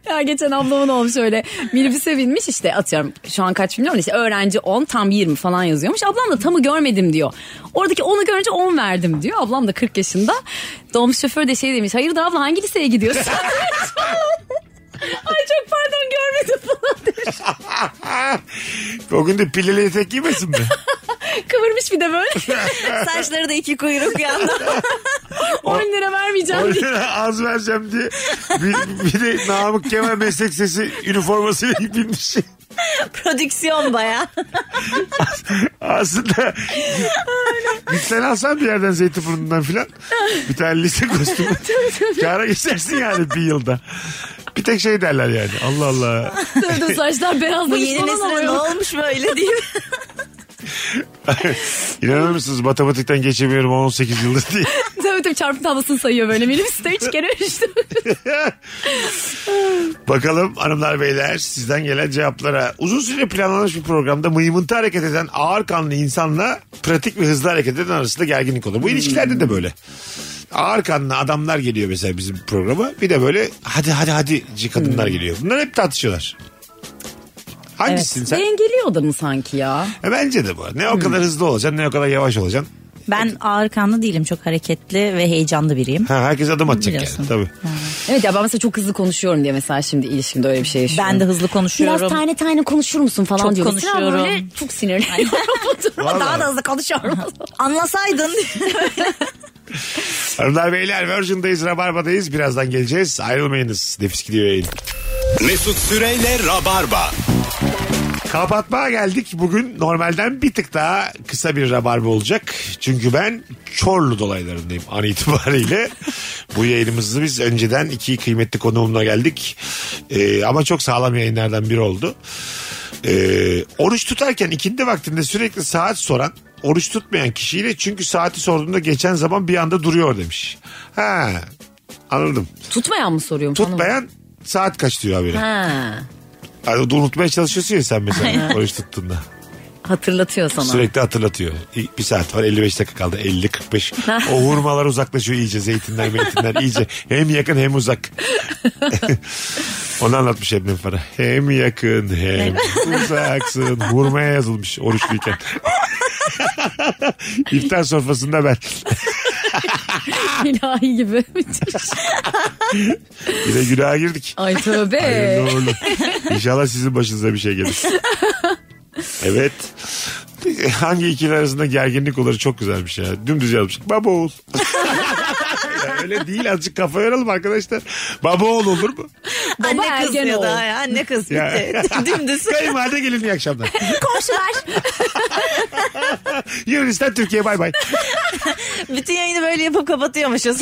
[SPEAKER 5] Ya geçen ablamın olmuş öyle minibüse binmiş işte atıyorum şu an kaç bilmiyorum da işte öğrenci 10 tam 20 falan yazıyormuş. Ablam da tamı görmedim diyor. Oradaki 10'u görünce 10 verdim diyor. Ablam da 40 yaşında. Dolmuş şoför de şey demiş hayırdır abla hangi liseye gidiyorsun? [laughs] Ay çok pardon görmedim falan demiş.
[SPEAKER 3] o gün de pileli etek giymesin
[SPEAKER 4] [laughs]
[SPEAKER 3] mi?
[SPEAKER 5] Kıvırmış bir de böyle.
[SPEAKER 4] Saçları da iki kuyruk
[SPEAKER 5] [laughs]
[SPEAKER 4] yanda.
[SPEAKER 5] 10 lira vermeyeceğim diye.
[SPEAKER 3] Oyuna az vereceğim diye bir, bir de Namık Kemal meslek sesi üniformasıyla binmiş.
[SPEAKER 4] Prodüksiyon bayağı.
[SPEAKER 3] Aslında gitsen alsan bir yerden Zeytinburnu'ndan filan bir tane lise kostümü kâra geçersin yani bir yılda. Bir tek şey derler yani Allah Allah.
[SPEAKER 5] Dövdüm
[SPEAKER 4] [laughs]
[SPEAKER 5] saçlar
[SPEAKER 4] Bu
[SPEAKER 5] beyazlamış
[SPEAKER 4] yeni
[SPEAKER 5] falan
[SPEAKER 4] nesile ne
[SPEAKER 5] oluyor.
[SPEAKER 4] olmuş böyle diye.
[SPEAKER 3] İnanır mısınız matematikten geçemiyorum 18 yıldır diye.
[SPEAKER 5] Tabii tabii çarpım tablosunu sayıyor böyle minibüste üç kere işte.
[SPEAKER 3] Bakalım hanımlar beyler sizden gelen cevaplara. Uzun süre planlanmış bir programda mıymıntı hareket eden ağır kanlı insanla pratik ve hızlı hareket eden arasında gerginlik olur. Bu ilişkilerde de böyle. Ağır kanlı adamlar geliyor mesela bizim programa. Bir de böyle hadi hadi hadi kadınlar geliyor. Bunlar hep tartışıyorlar. Hangisisin sen?
[SPEAKER 5] Dengeliyor da mı sanki ya?
[SPEAKER 3] E, bence de bu. Ne o kadar hızlı olacaksın ne o kadar yavaş olacaksın.
[SPEAKER 4] Ben ağır kanlı değilim. Çok hareketli ve heyecanlı biriyim.
[SPEAKER 3] Ha, herkes adım atacak
[SPEAKER 4] Biliyorsun.
[SPEAKER 3] yani tabii.
[SPEAKER 5] Evet ya ben mesela çok hızlı konuşuyorum diye mesela şimdi ilişkimde öyle bir şey yaşıyorum.
[SPEAKER 4] Ben de hızlı konuşuyorum.
[SPEAKER 5] Biraz tane tane konuşur musun falan
[SPEAKER 4] Çok
[SPEAKER 5] diyor. Mesela
[SPEAKER 4] konuşuyorum.
[SPEAKER 5] böyle çok sinirleniyorum. Daha da hızlı konuşuyorum.
[SPEAKER 4] [laughs] Anlasaydın.
[SPEAKER 3] Hanımlar beyler Virgin'dayız Rabarba'dayız. Birazdan geleceğiz. Ayrılmayınız. Nefis gidiyor yayın.
[SPEAKER 2] Mesut Süreyle Rabarba.
[SPEAKER 3] Kapatmaya geldik. Bugün normalden bir tık daha kısa bir rabarba olacak. Çünkü ben Çorlu dolaylarındayım an itibariyle. Bu yayınımızı biz önceden iki kıymetli konuğumla geldik. Ee, ama çok sağlam yayınlardan biri oldu. Ee, oruç tutarken ikindi vaktinde sürekli saat soran oruç tutmayan kişiyle çünkü saati sorduğunda geçen zaman bir anda duruyor demiş. Ha anladım.
[SPEAKER 5] [laughs] Tutmayan mı soruyorum?
[SPEAKER 3] Tutmayan saat kaç diyor habire.
[SPEAKER 5] Ha,
[SPEAKER 3] Yani unutmaya çalışıyorsun ya sen mesela oruç tuttuğunda.
[SPEAKER 5] hatırlatıyor sana.
[SPEAKER 3] Sürekli hatırlatıyor. İ- Bir saat var 55 dakika kaldı 50 45. O hurmalar uzaklaşıyor iyice zeytinler meytinler iyice. Hem yakın hem uzak. Onu anlatmış Ebnem Fara. Hem yakın hem uzaksın. Hurmaya yazılmış oruçluyken. İftar sofrasında ben.
[SPEAKER 5] [laughs] İlahi gibi. [laughs]
[SPEAKER 3] Yine günaha girdik.
[SPEAKER 5] Ay tövbe.
[SPEAKER 3] Hayırlı uğurlu. İnşallah sizin başınıza bir şey gelir. Evet. Hangi ikili arasında gerginlik olur çok güzelmiş ya. Dümdüz yazmış. Baba oğul. Ya Öyle değil azıcık kafa yoralım arkadaşlar. Baba oğul olur mu?
[SPEAKER 4] [laughs]
[SPEAKER 5] Baba
[SPEAKER 4] anne kız
[SPEAKER 5] ergen
[SPEAKER 4] ya
[SPEAKER 5] oğul.
[SPEAKER 4] da ya, anne kız bir
[SPEAKER 3] Ya.
[SPEAKER 4] de. [laughs] Dümdüz.
[SPEAKER 3] Kayınvalide gelin iyi akşamlar.
[SPEAKER 5] Komşular.
[SPEAKER 3] Yunanistan Türkiye bay bay.
[SPEAKER 4] [laughs] Bütün yayını böyle yapıp kapatıyormuşuz.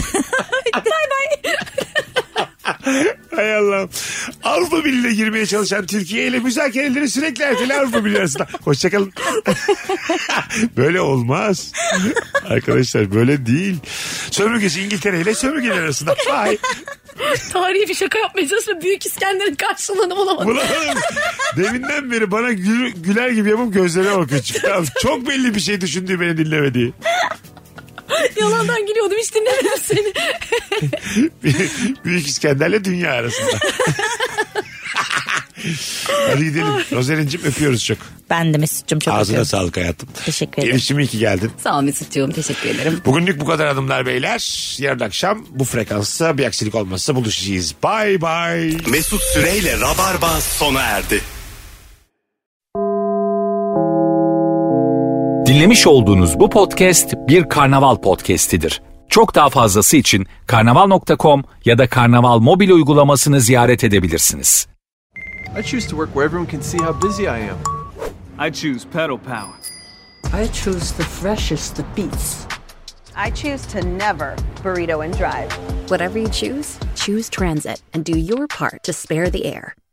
[SPEAKER 3] Hay Allah'ım. Avrupa Birliği'ne girmeye çalışan Türkiye ile müzakereleri sürekli erteli Avrupa Birliği arasında. Hoşçakalın. [laughs] böyle olmaz. Arkadaşlar böyle değil. Sömürgesi İngiltere ile sömürgeler arasında. Vay.
[SPEAKER 5] Tarihi bir şaka yapmaya çalışma. Büyük İskender'in karşılığını bulamadım.
[SPEAKER 3] Ulan deminden beri bana gül- güler gibi yapıp gözlerine bakıyor. Çünkü Tamam, çok belli bir şey düşündüğü beni dinlemediği.
[SPEAKER 5] Yalandan gülüyordum hiç dinlemedim seni.
[SPEAKER 3] [laughs] Büyük İskender'le dünya arasında. [laughs] Hadi gidelim. Rozerin'cim öpüyoruz çok.
[SPEAKER 4] ben de Mesut'cum çok
[SPEAKER 3] Ağzına
[SPEAKER 4] öpüyorum.
[SPEAKER 3] sağlık hayatım.
[SPEAKER 4] Teşekkür ederim.
[SPEAKER 3] Gelişimi iyi ki geldin.
[SPEAKER 5] Sağ ol Mesut'cuğum teşekkür ederim.
[SPEAKER 3] Bugünlük bu kadar hanımlar beyler. Yarın akşam bu frekansta bir aksilik olmazsa buluşacağız. Bay bay.
[SPEAKER 2] Mesut Süreyle Rabarba sona erdi.
[SPEAKER 1] Dinlemiş olduğunuz bu podcast bir karnaval podcastidir. Çok daha fazlası için karnaval.com ya da karnaval mobil uygulamasını ziyaret edebilirsiniz.
[SPEAKER 6] I choose to work where everyone can see how busy I am. I choose pedal power.
[SPEAKER 7] I choose the freshest of beets.
[SPEAKER 8] I choose to never burrito and drive.
[SPEAKER 9] Whatever you choose, choose transit and do your part to spare the air.